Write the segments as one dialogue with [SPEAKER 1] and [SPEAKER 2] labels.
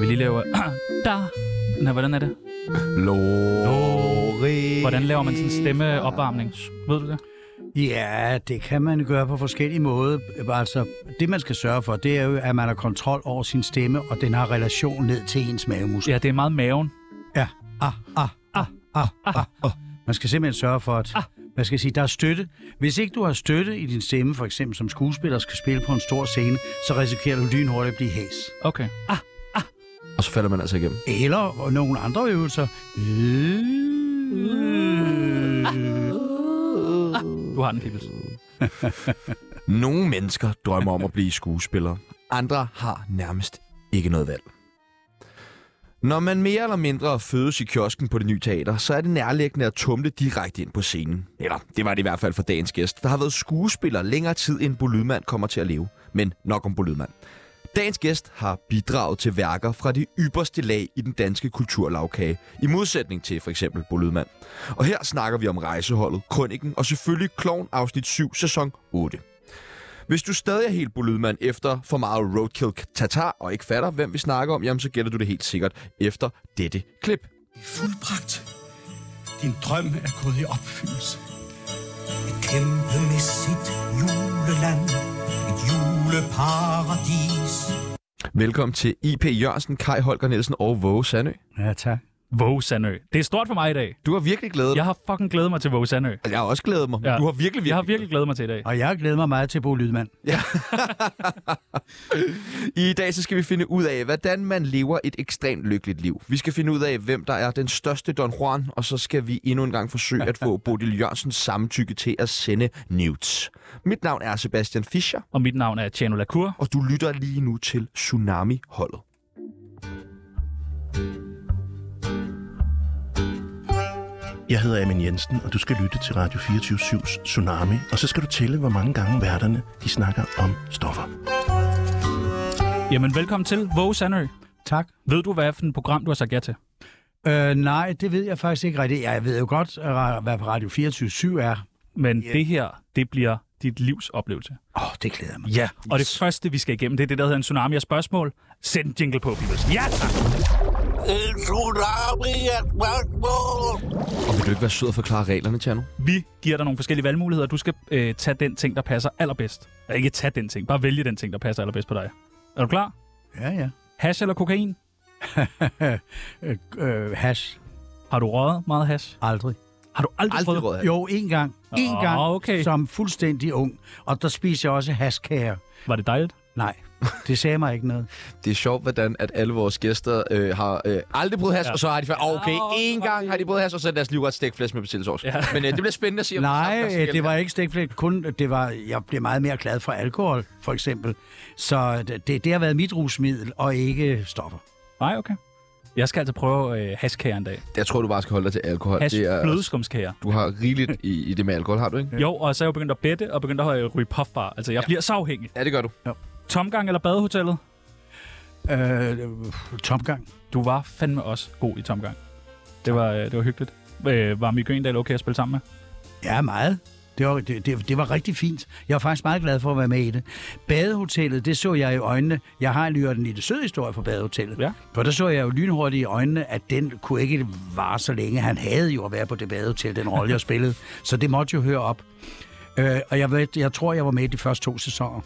[SPEAKER 1] laver... der. Nej, hvordan er det?
[SPEAKER 2] Lori.
[SPEAKER 1] Hvordan laver man sådan en stemmeopvarmning? Ved du det?
[SPEAKER 3] Ja, det kan man gøre på forskellige måder. Altså, det man skal sørge for, det er jo, at man har kontrol over sin stemme, og den har relation ned til ens mavemuskel.
[SPEAKER 1] Ja, det er meget maven.
[SPEAKER 3] Ja. Ah, ah, ah, ah, ah, ah. Man skal simpelthen sørge for, at man skal jeg sige, der er støtte. Hvis ikke du har støtte i din stemme, for eksempel som skuespiller skal spille på en stor scene, så risikerer du lynhurtigt at blive hæs.
[SPEAKER 1] Okay.
[SPEAKER 2] Og så falder man altså igennem.
[SPEAKER 3] Eller nogle andre øvelser.
[SPEAKER 1] Du har den, Pibels.
[SPEAKER 2] Nogle mennesker drømmer om at blive skuespillere. Andre har nærmest ikke noget valg. Når man mere eller mindre fødes i kiosken på det nye teater, så er det nærliggende at tumle direkte ind på scenen. Eller det var det i hvert fald for dagens gæst, der har været skuespiller længere tid, end Bo Lydman kommer til at leve. Men nok om Bo Lydman. Dagens gæst har bidraget til værker fra det ypperste lag i den danske kulturlavkage, i modsætning til for eksempel Bo Lydman. Og her snakker vi om rejseholdet, krønningen og selvfølgelig Klovn afsnit 7, sæson 8. Hvis du stadig er helt bolydmand efter for meget roadkill tatar og ikke fatter, hvem vi snakker om, jamen så gætter du det helt sikkert efter dette klip.
[SPEAKER 4] fuldbragt. Din drøm er gået i opfyldelse. Et kæmpemæssigt juleland. Et juleparadis.
[SPEAKER 2] Velkommen til IP Jørgensen, Kai Holger Nielsen og Våge Sandø.
[SPEAKER 3] Ja, tak.
[SPEAKER 1] Våge Sandø. Det er stort for mig i dag.
[SPEAKER 2] Du har virkelig glædet
[SPEAKER 1] Jeg
[SPEAKER 2] dig.
[SPEAKER 1] har fucking glædet mig til Våge Sandø.
[SPEAKER 2] Jeg har også glædet mig.
[SPEAKER 1] Ja.
[SPEAKER 2] Ja. Du har virkelig, virkelig,
[SPEAKER 1] Jeg har virkelig glædet mig til i dag.
[SPEAKER 3] Og jeg glæder mig meget til Bo Lydman.
[SPEAKER 2] I dag så skal vi finde ud af, hvordan man lever et ekstremt lykkeligt liv. Vi skal finde ud af, hvem der er den største Don Juan, og så skal vi endnu en gang forsøge at få Bodil Jørgensens samtykke til at sende nudes. Mit navn er Sebastian Fischer,
[SPEAKER 1] Og mit navn er Tjano Lacour.
[SPEAKER 2] og du lytter lige nu til Tsunami-holdet.
[SPEAKER 5] Jeg hedder Amin Jensen, og du skal lytte til Radio 24-7's Tsunami, og så skal du tælle, hvor mange gange værterne de snakker om stoffer.
[SPEAKER 1] Jamen, velkommen til Våge Sandø.
[SPEAKER 3] Tak.
[SPEAKER 1] Ved du, hvad for et program, du har sagt ja til?
[SPEAKER 3] Øh, nej, det ved jeg faktisk ikke rigtigt. Jeg ved jo godt, øh, hvad Radio 24 er.
[SPEAKER 1] Men det her, det bliver dit livs oplevelse.
[SPEAKER 3] Åh, oh, det glæder jeg mig.
[SPEAKER 1] Ja, og det første, vi skal igennem, det er det, der hedder en tsunami af spørgsmål. Send en jingle på, Pibels. Ja, tak.
[SPEAKER 2] Og vil du ikke være sød og forklare reglerne, Tjerno?
[SPEAKER 1] Vi giver dig nogle forskellige valgmuligheder. Du skal øh, tage den ting, der passer allerbedst. Eller ikke tage den ting, bare vælge den ting, der passer allerbedst på dig. Er du klar?
[SPEAKER 3] Ja, ja.
[SPEAKER 1] Hash eller kokain?
[SPEAKER 3] Øh, øh, hash.
[SPEAKER 1] Har du røget meget hash?
[SPEAKER 3] Aldrig.
[SPEAKER 1] Har du aldrig,
[SPEAKER 2] Aldrig
[SPEAKER 1] prøvet?
[SPEAKER 2] råd.
[SPEAKER 3] Jo, en gang. En
[SPEAKER 1] Nå,
[SPEAKER 3] gang
[SPEAKER 1] okay.
[SPEAKER 3] som fuldstændig ung. Og der spiser jeg også hashkager.
[SPEAKER 1] Var det dejligt?
[SPEAKER 3] Nej, det sagde mig ikke noget.
[SPEAKER 2] Det er sjovt, hvordan at alle vores gæster øh, har øh, aldrig prøvet has,
[SPEAKER 1] Ja.
[SPEAKER 2] ja. og så har de faktisk, oh, okay,
[SPEAKER 1] Åh,
[SPEAKER 2] én
[SPEAKER 1] fuck
[SPEAKER 2] gang har de prøvet has, og så er deres liv ret stegt med persillesovs. Ja. Men øh, det bliver spændende at se, om
[SPEAKER 3] Nej,
[SPEAKER 2] det,
[SPEAKER 3] øh, det var ikke stikflægt. Kun det var, jeg blev meget mere glad for alkohol, for eksempel. Så det, det det har været mit rusmiddel, og ikke stopper.
[SPEAKER 1] Nej, okay. Jeg skal altså prøve øh, hashkager en dag.
[SPEAKER 2] Jeg tror, du bare skal holde dig til alkohol.
[SPEAKER 1] Hash
[SPEAKER 2] det er,
[SPEAKER 1] flødeskumskager.
[SPEAKER 2] Du har rigeligt i, i det med alkohol, har du ikke?
[SPEAKER 1] Jo, og så er jeg jo begyndt at bette og begyndt at øh, ryge puffbar. Altså, jeg ja. bliver så afhængig.
[SPEAKER 2] Ja, det gør du.
[SPEAKER 1] Tomgang eller badehotellet?
[SPEAKER 3] Øh, øh, tomgang.
[SPEAKER 1] Du var fandme også god i tomgang. Det var, øh, det var hyggeligt. Øh, var Mikke Øendal okay at spille sammen med?
[SPEAKER 3] Ja, meget. Det var, det, det, det var rigtig fint. Jeg var faktisk meget glad for at være med i det. Badehotellet, det så jeg i øjnene. Jeg har lige hørt en lille sød historie fra badehotellet.
[SPEAKER 1] Ja.
[SPEAKER 3] For der så jeg jo lynhurtigt i øjnene, at den kunne ikke vare så længe. Han havde jo at være på det badehotel, den rolle, jeg spillede. Så det måtte jo høre op. Øh, og jeg, ved, jeg tror, jeg var med i de første to sæsoner.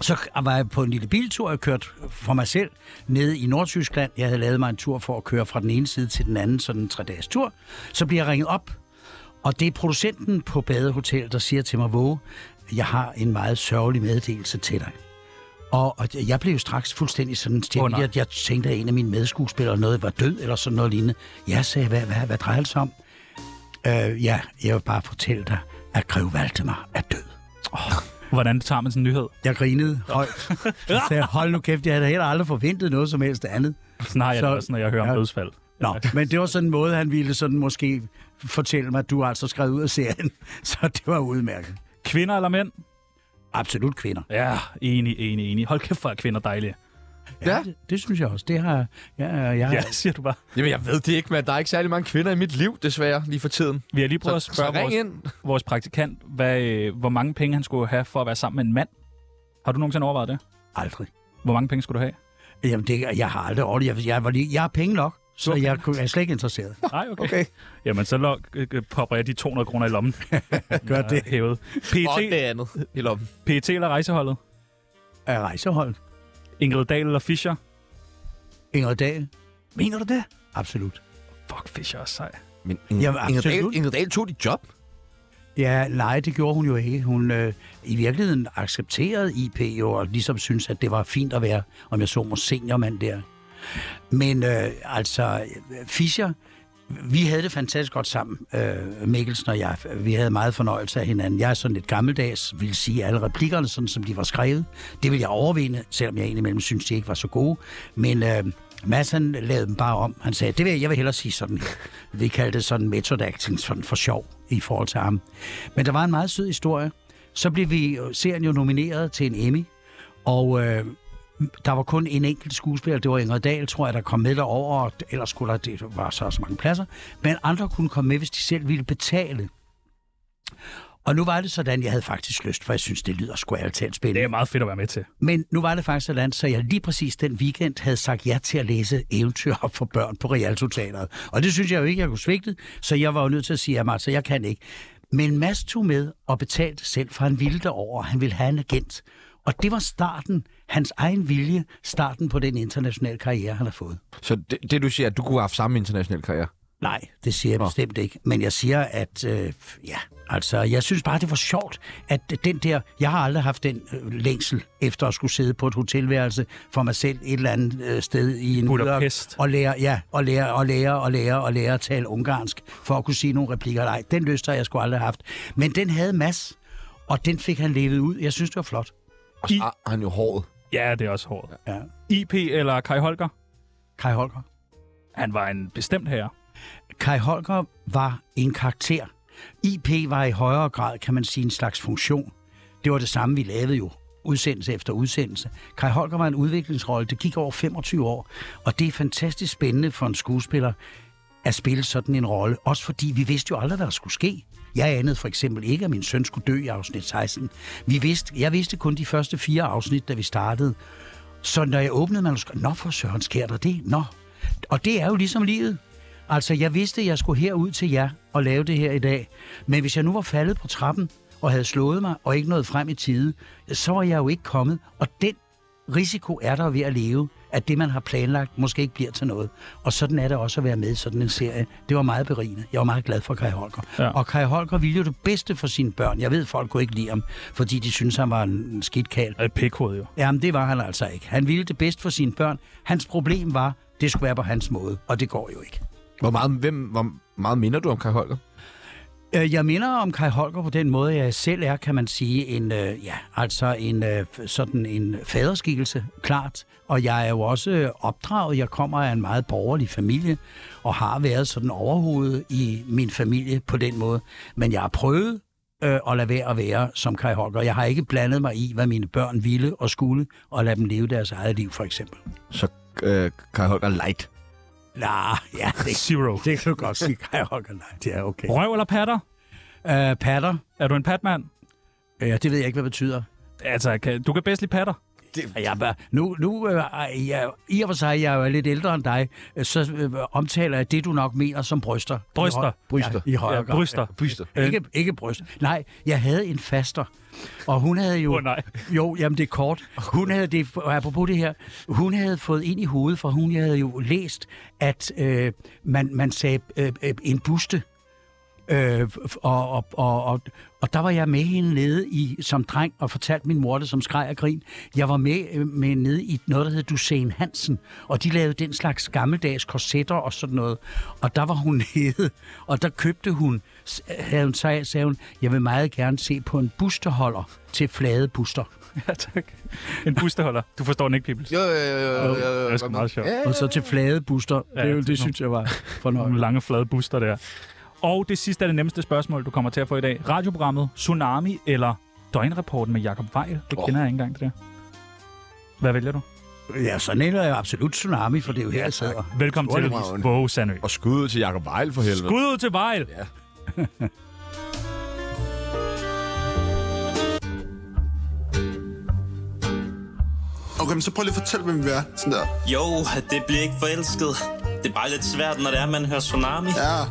[SPEAKER 3] Så var jeg på en lille biltur, jeg kørte for mig selv ned i Nordtyskland. Jeg havde lavet mig en tur for at køre fra den ene side til den anden, sådan en tre-dages tur. Så bliver jeg ringet op, og det er producenten på Badehotel, der siger til mig, Våge, jeg har en meget sørgelig meddelelse til dig. Og, og jeg blev jo straks fuldstændig sådan stille.
[SPEAKER 1] Åh,
[SPEAKER 3] Oh,
[SPEAKER 1] nej.
[SPEAKER 3] jeg, jeg tænkte, at en af mine medskuespillere noget var død, eller sådan noget lignende. Jeg sagde, hvad, hvad, hvad drejer det sig om? Øh, ja, jeg vil bare fortælle dig, at Grev Valdemar er død.
[SPEAKER 1] Hvordan tager man sådan en nyhed?
[SPEAKER 3] Jeg grinede højt. Jeg sagde, hold nu kæft, jeg havde da heller aldrig forventet noget som helst andet.
[SPEAKER 1] Sådan har jeg så,
[SPEAKER 3] Så-
[SPEAKER 1] det også, når jeg hører ja. om
[SPEAKER 3] ja.
[SPEAKER 1] dødsfald.
[SPEAKER 3] Nå, men det var sådan en måde, han ville sådan måske fortælle mig, at du er altså skrevet ud af serien. Så det var udmærket.
[SPEAKER 1] Kvinder eller mænd?
[SPEAKER 3] Absolut kvinder.
[SPEAKER 1] Ja, enig, enig, enig. Hold kæft, hvor er kvinder dejlige.
[SPEAKER 2] Ja.
[SPEAKER 3] Det, det synes jeg også. Det har ja, jeg...
[SPEAKER 1] Ja, siger du bare.
[SPEAKER 2] Jamen, jeg ved det ikke, men der er ikke særlig mange kvinder i mit liv, desværre, lige for tiden.
[SPEAKER 1] Vi har lige prøvet
[SPEAKER 2] Så,
[SPEAKER 1] at
[SPEAKER 2] så
[SPEAKER 1] spørge
[SPEAKER 2] ring
[SPEAKER 1] vores,
[SPEAKER 2] ind.
[SPEAKER 1] vores praktikant, hvad, øh, hvor mange penge han skulle have for at være sammen med en mand. Har du nogensinde overvejet det?
[SPEAKER 3] Aldrig.
[SPEAKER 1] Hvor mange penge skulle du have?
[SPEAKER 3] Jamen, det, jeg har aldrig ordentligt. Jeg, jeg, var lige, jeg har penge nok, så jeg, kunne- jeg er slet ikke interesseret.
[SPEAKER 1] Nej, okay. okay. Jamen, så lok, øh, øh, popper jeg de 200 kroner i lommen. Gør det. Hævet.
[SPEAKER 2] Og det
[SPEAKER 1] PET,
[SPEAKER 2] andet i lommen.
[SPEAKER 1] PET eller rejseholdet?
[SPEAKER 3] Er rejsehold.
[SPEAKER 1] Ingrid Dahl eller Fischer?
[SPEAKER 3] Ingrid Dahl.
[SPEAKER 1] Mener du det?
[SPEAKER 3] Absolut.
[SPEAKER 1] Fuck, Fischer er sej.
[SPEAKER 2] Men Inger,
[SPEAKER 3] Jamen,
[SPEAKER 2] Inger, Dahl,
[SPEAKER 3] absolut.
[SPEAKER 2] Inger Dahl tog dit job.
[SPEAKER 3] Ja, nej, det gjorde hun jo ikke. Hun øh, i virkeligheden accepterede IP jo, og ligesom synes at det var fint at være, om jeg så må seniormand der. Men øh, altså, Fischer, vi havde det fantastisk godt sammen, øh, Mikkelsen og jeg. Vi havde meget fornøjelse af hinanden. Jeg er sådan lidt gammeldags, vil sige alle replikkerne, sådan som de var skrevet. Det vil jeg overvinde, selvom jeg indimellem synes, de ikke var så gode. Men øh, Mads, han lavede dem bare om. Han sagde, det vil jeg, jeg vil hellere sige sådan. Vi kaldte det sådan method acting sådan for sjov i forhold til ham. Men der var en meget sød historie. Så blev vi, øh, serien jo nomineret til en Emmy, og øh, der var kun en enkelt skuespiller, det var Ingrid Dahl, tror jeg, der kom med derover, og ellers skulle der, det var så, og så mange pladser. Men andre kunne komme med, hvis de selv ville betale. Og nu var det sådan, jeg havde faktisk lyst, for jeg synes, det lyder sgu ærligt talt
[SPEAKER 1] Det
[SPEAKER 3] spændende.
[SPEAKER 1] er meget fedt at være med til.
[SPEAKER 3] Men nu var det faktisk sådan, så jeg lige præcis den weekend havde sagt ja til at læse eventyr op for børn på Rialto Teateret. Og det synes jeg jo ikke, jeg kunne svigte, så jeg var jo nødt til at sige, at altså, jeg kan ikke. Men Mads tog med og betalte selv, for han ville derover, han ville have en agent. Og det var starten, hans egen vilje, starten på den internationale karriere, han har fået.
[SPEAKER 2] Så det, det du siger, at du kunne have haft samme international karriere.
[SPEAKER 3] Nej, det siger jeg bestemt ikke. Men jeg siger, at øh, ja, altså, jeg synes bare, det var sjovt, at den der... Jeg har aldrig haft den øh, længsel efter at skulle sidde på et hotelværelse for mig selv et eller andet øh, sted i en
[SPEAKER 1] Budapest.
[SPEAKER 3] og lære, ja, og lære, og lære, og lære, og lære at tale ungarsk, for at kunne sige nogle replikker. Nej, den lyst har jeg sgu aldrig haft. Men den havde Mads, og den fik han levet ud. Jeg synes, det var flot.
[SPEAKER 2] Og så har Ah, han jo håret.
[SPEAKER 1] Ja, det er også hårdt.
[SPEAKER 3] Ja.
[SPEAKER 1] IP eller Kai Holger?
[SPEAKER 3] Kai Holger.
[SPEAKER 1] Han var en bestemt herre.
[SPEAKER 3] Kai Holger var en karakter. IP var i højere grad, kan man sige, en slags funktion. Det var det samme, vi lavede jo udsendelse efter udsendelse. Kai Holger var en udviklingsrolle, det gik over 25 år, og det er fantastisk spændende for en skuespiller at spille sådan en rolle, også fordi vi vidste jo aldrig, hvad der skulle ske. Jeg anede for eksempel ikke, at min søn skulle dø i afsnit 16. Vi vidste, jeg vidste kun de første fire afsnit, da vi startede. Så når jeg åbnede manuskriptet, nå for søren, sker der det? Nå. Og det er jo ligesom livet. Altså, jeg vidste, at jeg skulle herud til jer og lave det her i dag. Men hvis jeg nu var faldet på trappen og havde slået mig og ikke nået frem i tide, så var jeg jo ikke kommet. Og den risiko er der ved at leve, at det, man har planlagt, måske ikke bliver til noget. Og sådan er det også at være med i sådan en serie. Det var meget berigende. Jeg var meget glad for Kai Holger.
[SPEAKER 1] Ja.
[SPEAKER 3] Ja. Og Kai Holger ville jo det bedste for sine børn. Jeg ved, folk kunne ikke lide ham, fordi de syntes, han var en en skidt kald.
[SPEAKER 1] Og et pikhoved jo.
[SPEAKER 3] Jamen, det var han altså ikke. Han ville det bedst for sine børn. Hans problem var, det skulle være på hans måde, og det går jo ikke.
[SPEAKER 2] Hvor meget, hvem, hvor meget minder du om Kai Holger?
[SPEAKER 3] Øh, Jeg minder om Kai Holger på den måde, jeg selv er, kan man sige, en, øh, ja, altså en, øh, sådan en faderskikkelse, klart. Og jeg er jo også øh, opdraget, jeg kommer af en meget borgerlig familie, og har været sådan overhovedet i min familie på den måde. Men jeg har prøvet øh, at lade være at være som Kai Holger. Jeg har ikke blandet mig i, hvad mine børn ville og skulle, og lade dem leve deres eget liv, for eksempel.
[SPEAKER 2] Så øh, Kai Holger light.
[SPEAKER 3] Nej, ja, det,
[SPEAKER 1] Zero.
[SPEAKER 3] det kan du godt sige, Kai Holger. Nej, det er okay.
[SPEAKER 1] Røv eller patter?
[SPEAKER 3] Øh, patter,
[SPEAKER 1] Er du en patmand?
[SPEAKER 3] øh, det ved jeg ikke, hvad det betyder.
[SPEAKER 1] Altså, kan, du kan bedst lide patter.
[SPEAKER 3] Jeg, bare- nu, nu øh, ej, jeg, i og for sig, jeg er jo lidt ældre end dig, øh, så øh, omtaler jeg det, du nok mener som bryster.
[SPEAKER 1] Bryster.
[SPEAKER 3] I høj-
[SPEAKER 2] Bryster.
[SPEAKER 3] Ja, I højere
[SPEAKER 1] Ja,
[SPEAKER 3] grad.
[SPEAKER 1] bryster.
[SPEAKER 2] Byster.
[SPEAKER 3] Ja. Ikke, ikke bryst. Nej, jeg havde en faster, og hun havde jo...
[SPEAKER 1] Åh, nej.
[SPEAKER 3] Jo, jamen det er kort. Hun havde det, og apropos det her, hun havde fået ind i hovedet, for hun havde jo læst, at øh, man, man sagde øh, øh, en buste. Øh, f- og, og, og, og, og der var jeg med hende nede i, som dreng og fortalte min mor det, som skreg og grin. Jeg var med, øh, med nede i noget, der hed Dusen Hansen, og de lavede den slags gammeldags korsetter og sådan noget. Og der var hun nede, og der købte hun, s- havde hun, sag- sagde hun, jeg vil meget gerne se på en busterholder til flade buster.
[SPEAKER 1] Ja, tak. En busteholder. Du forstår den ikke, Pibels.
[SPEAKER 2] Jo, jo, jo, jo, jo, jo.
[SPEAKER 1] Det er sgu meget sjovt.
[SPEAKER 3] Og så til flade booster.
[SPEAKER 1] Ja,
[SPEAKER 3] Ja, det,
[SPEAKER 1] det
[SPEAKER 3] det synes jeg var fornøjeligt.
[SPEAKER 1] Nogle lange, flade buster der. Og det sidste er det nemmeste spørgsmål, du kommer til at få i dag. Radioprogrammet Tsunami eller Døgnrapporten med Jakob Vejl? Det
[SPEAKER 2] Åh.
[SPEAKER 1] kender jeg ikke engang, det der. Hvad vælger du?
[SPEAKER 3] Ja, så nævner jeg absolut tsunami, for det er jo her, jeg sidder.
[SPEAKER 1] Velkommen til
[SPEAKER 2] Storrøven.
[SPEAKER 1] Våge Sandø.
[SPEAKER 2] Og skud til Jacob Vejl for helvede.
[SPEAKER 1] Skud ud til Vejl!
[SPEAKER 2] Ja.
[SPEAKER 6] Okay, Okay, men så prøv lige at fortælle, hvem vi er. Sådan der.
[SPEAKER 7] Jo, det bliver ikke forelsket. Det er bare lidt svært, når det er, man hører tsunami.
[SPEAKER 6] Ja.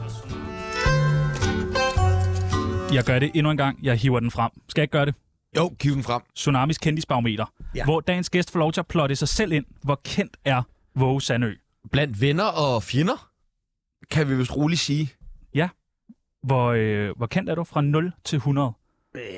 [SPEAKER 1] Jeg gør det endnu en gang. Jeg hiver den frem. Skal jeg ikke gøre det?
[SPEAKER 2] Jo, giv den frem.
[SPEAKER 1] Tsunamis kendisbarometer, ja. hvor dagens gæst får lov til at plotte sig selv ind, hvor kendt er Våge Sandø.
[SPEAKER 2] Blandt venner og fjender, kan vi vist roligt sige.
[SPEAKER 1] Hvor, øh, hvor kendt er du fra 0 til 100?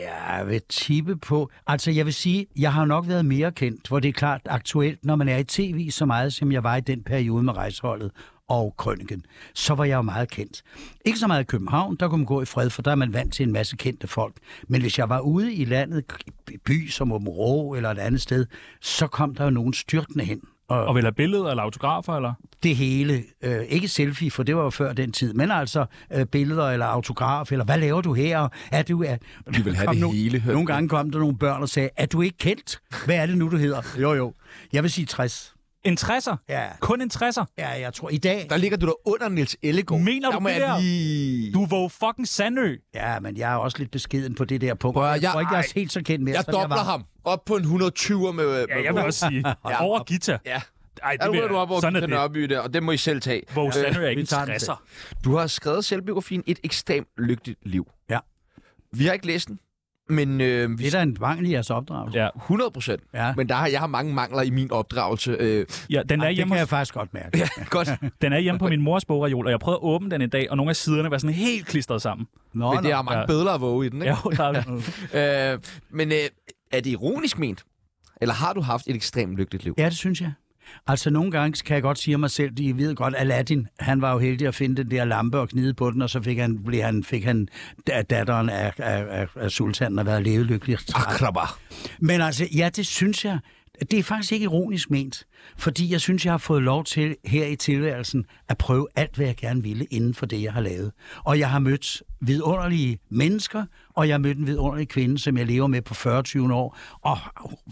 [SPEAKER 3] Jeg vil tippe på... Altså, jeg vil sige, jeg har nok været mere kendt, hvor det er klart aktuelt, når man er i tv så meget, som jeg var i den periode med rejseholdet og krønningen, så var jeg jo meget kendt. Ikke så meget i København, der kunne man gå i fred, for der er man vant til en masse kendte folk. Men hvis jeg var ude i landet, i by som Områ eller et andet sted, så kom der jo nogen styrtende hen. Og,
[SPEAKER 1] Og vil have billeder eller autografer? Eller?
[SPEAKER 3] det hele. Øh, ikke selfie, for det var jo før den tid, men altså øh, billeder eller autograf, eller hvad laver du her? og Er du, er,
[SPEAKER 2] De vil have
[SPEAKER 3] Kom
[SPEAKER 2] det
[SPEAKER 3] nogle,
[SPEAKER 2] hele.
[SPEAKER 3] Nogle gange kom der nogle børn og sagde, er du ikke kendt? Hvad er det nu, du hedder? Jo, jo. Jeg vil sige 60.
[SPEAKER 1] En 60'er?
[SPEAKER 3] Ja,
[SPEAKER 1] Kun en 60'er?
[SPEAKER 3] ja jeg tror i dag.
[SPEAKER 2] Der ligger du der under Nils Ellegaard.
[SPEAKER 1] Mener du
[SPEAKER 2] der må
[SPEAKER 1] det
[SPEAKER 2] jeg
[SPEAKER 1] der?
[SPEAKER 2] Lige...
[SPEAKER 1] Du er Våge fucking Sandø.
[SPEAKER 3] Ja, men jeg er også lidt beskeden på det der punkt.
[SPEAKER 2] Prøv at-
[SPEAKER 3] jeg
[SPEAKER 2] jeg-
[SPEAKER 3] tror ikke, jeg er
[SPEAKER 2] ej.
[SPEAKER 3] helt så kendt mere,
[SPEAKER 2] Jeg
[SPEAKER 3] som jeg
[SPEAKER 2] dobler
[SPEAKER 3] var.
[SPEAKER 2] ham op på en 120'er med... med
[SPEAKER 1] Ja, jeg vil også sige. ja. Over Gita.
[SPEAKER 2] Ja.
[SPEAKER 1] Ej,
[SPEAKER 2] Der
[SPEAKER 1] det vil
[SPEAKER 2] ryger du op over
[SPEAKER 1] Sådan er
[SPEAKER 2] Sådan
[SPEAKER 1] det.
[SPEAKER 2] Nørby der, og den må I selv tage.
[SPEAKER 1] Våge Sandø er ikke
[SPEAKER 3] vi
[SPEAKER 1] en
[SPEAKER 3] tager den selv.
[SPEAKER 1] 60'er.
[SPEAKER 2] Du har skrevet selvbiografien Et ekstremt lygtigt liv.
[SPEAKER 3] Ja.
[SPEAKER 2] Vi har ikke læst den, men øh,
[SPEAKER 3] Det
[SPEAKER 2] vi
[SPEAKER 3] er da en mangel i jeres opdragelse.
[SPEAKER 1] Ja.
[SPEAKER 2] 100 procent.
[SPEAKER 3] Ja.
[SPEAKER 2] Men der har, jeg har mange mangler i min opdragelse. Øh,
[SPEAKER 1] Ja, den, er
[SPEAKER 3] Ej,
[SPEAKER 1] hjemme,
[SPEAKER 3] det kan
[SPEAKER 1] hos-
[SPEAKER 3] jeg faktisk godt mærke. Ja.
[SPEAKER 2] godt.
[SPEAKER 1] den er hjemme på min mors bogreol, og jeg prøvede at åbne den en dag, og nogle af siderne var sådan helt klistret sammen.
[SPEAKER 3] Nå,
[SPEAKER 2] Men
[SPEAKER 3] nå.
[SPEAKER 2] det er mange
[SPEAKER 1] ja.
[SPEAKER 2] bødler at våge i den,
[SPEAKER 1] Ja,
[SPEAKER 2] ikke?
[SPEAKER 1] der er...
[SPEAKER 2] Ja. Øh, men øh, er det ironisk ment? Eller har du haft et ekstremt lykkeligt liv?
[SPEAKER 3] Ja, det synes jeg. Altså, nogle gange kan jeg godt sige om mig selv, de ved godt, Aladdin, han var jo heldig at finde den der lampe og gnide på den, og så fik han, blev han, fik han da- datteren af, af, af, af sultanen at være levelykkelig.
[SPEAKER 2] Akraba.
[SPEAKER 3] Men altså, ja, det synes jeg. Det er faktisk ikke ironisk ment, fordi jeg synes, jeg har fået lov til her i tilværelsen at prøve alt, hvad jeg gerne ville inden for det, jeg har lavet. Og jeg har mødt vidunderlige mennesker, og jeg har mødt en vidunderlig kvinde, som jeg lever med på 40-20 år, og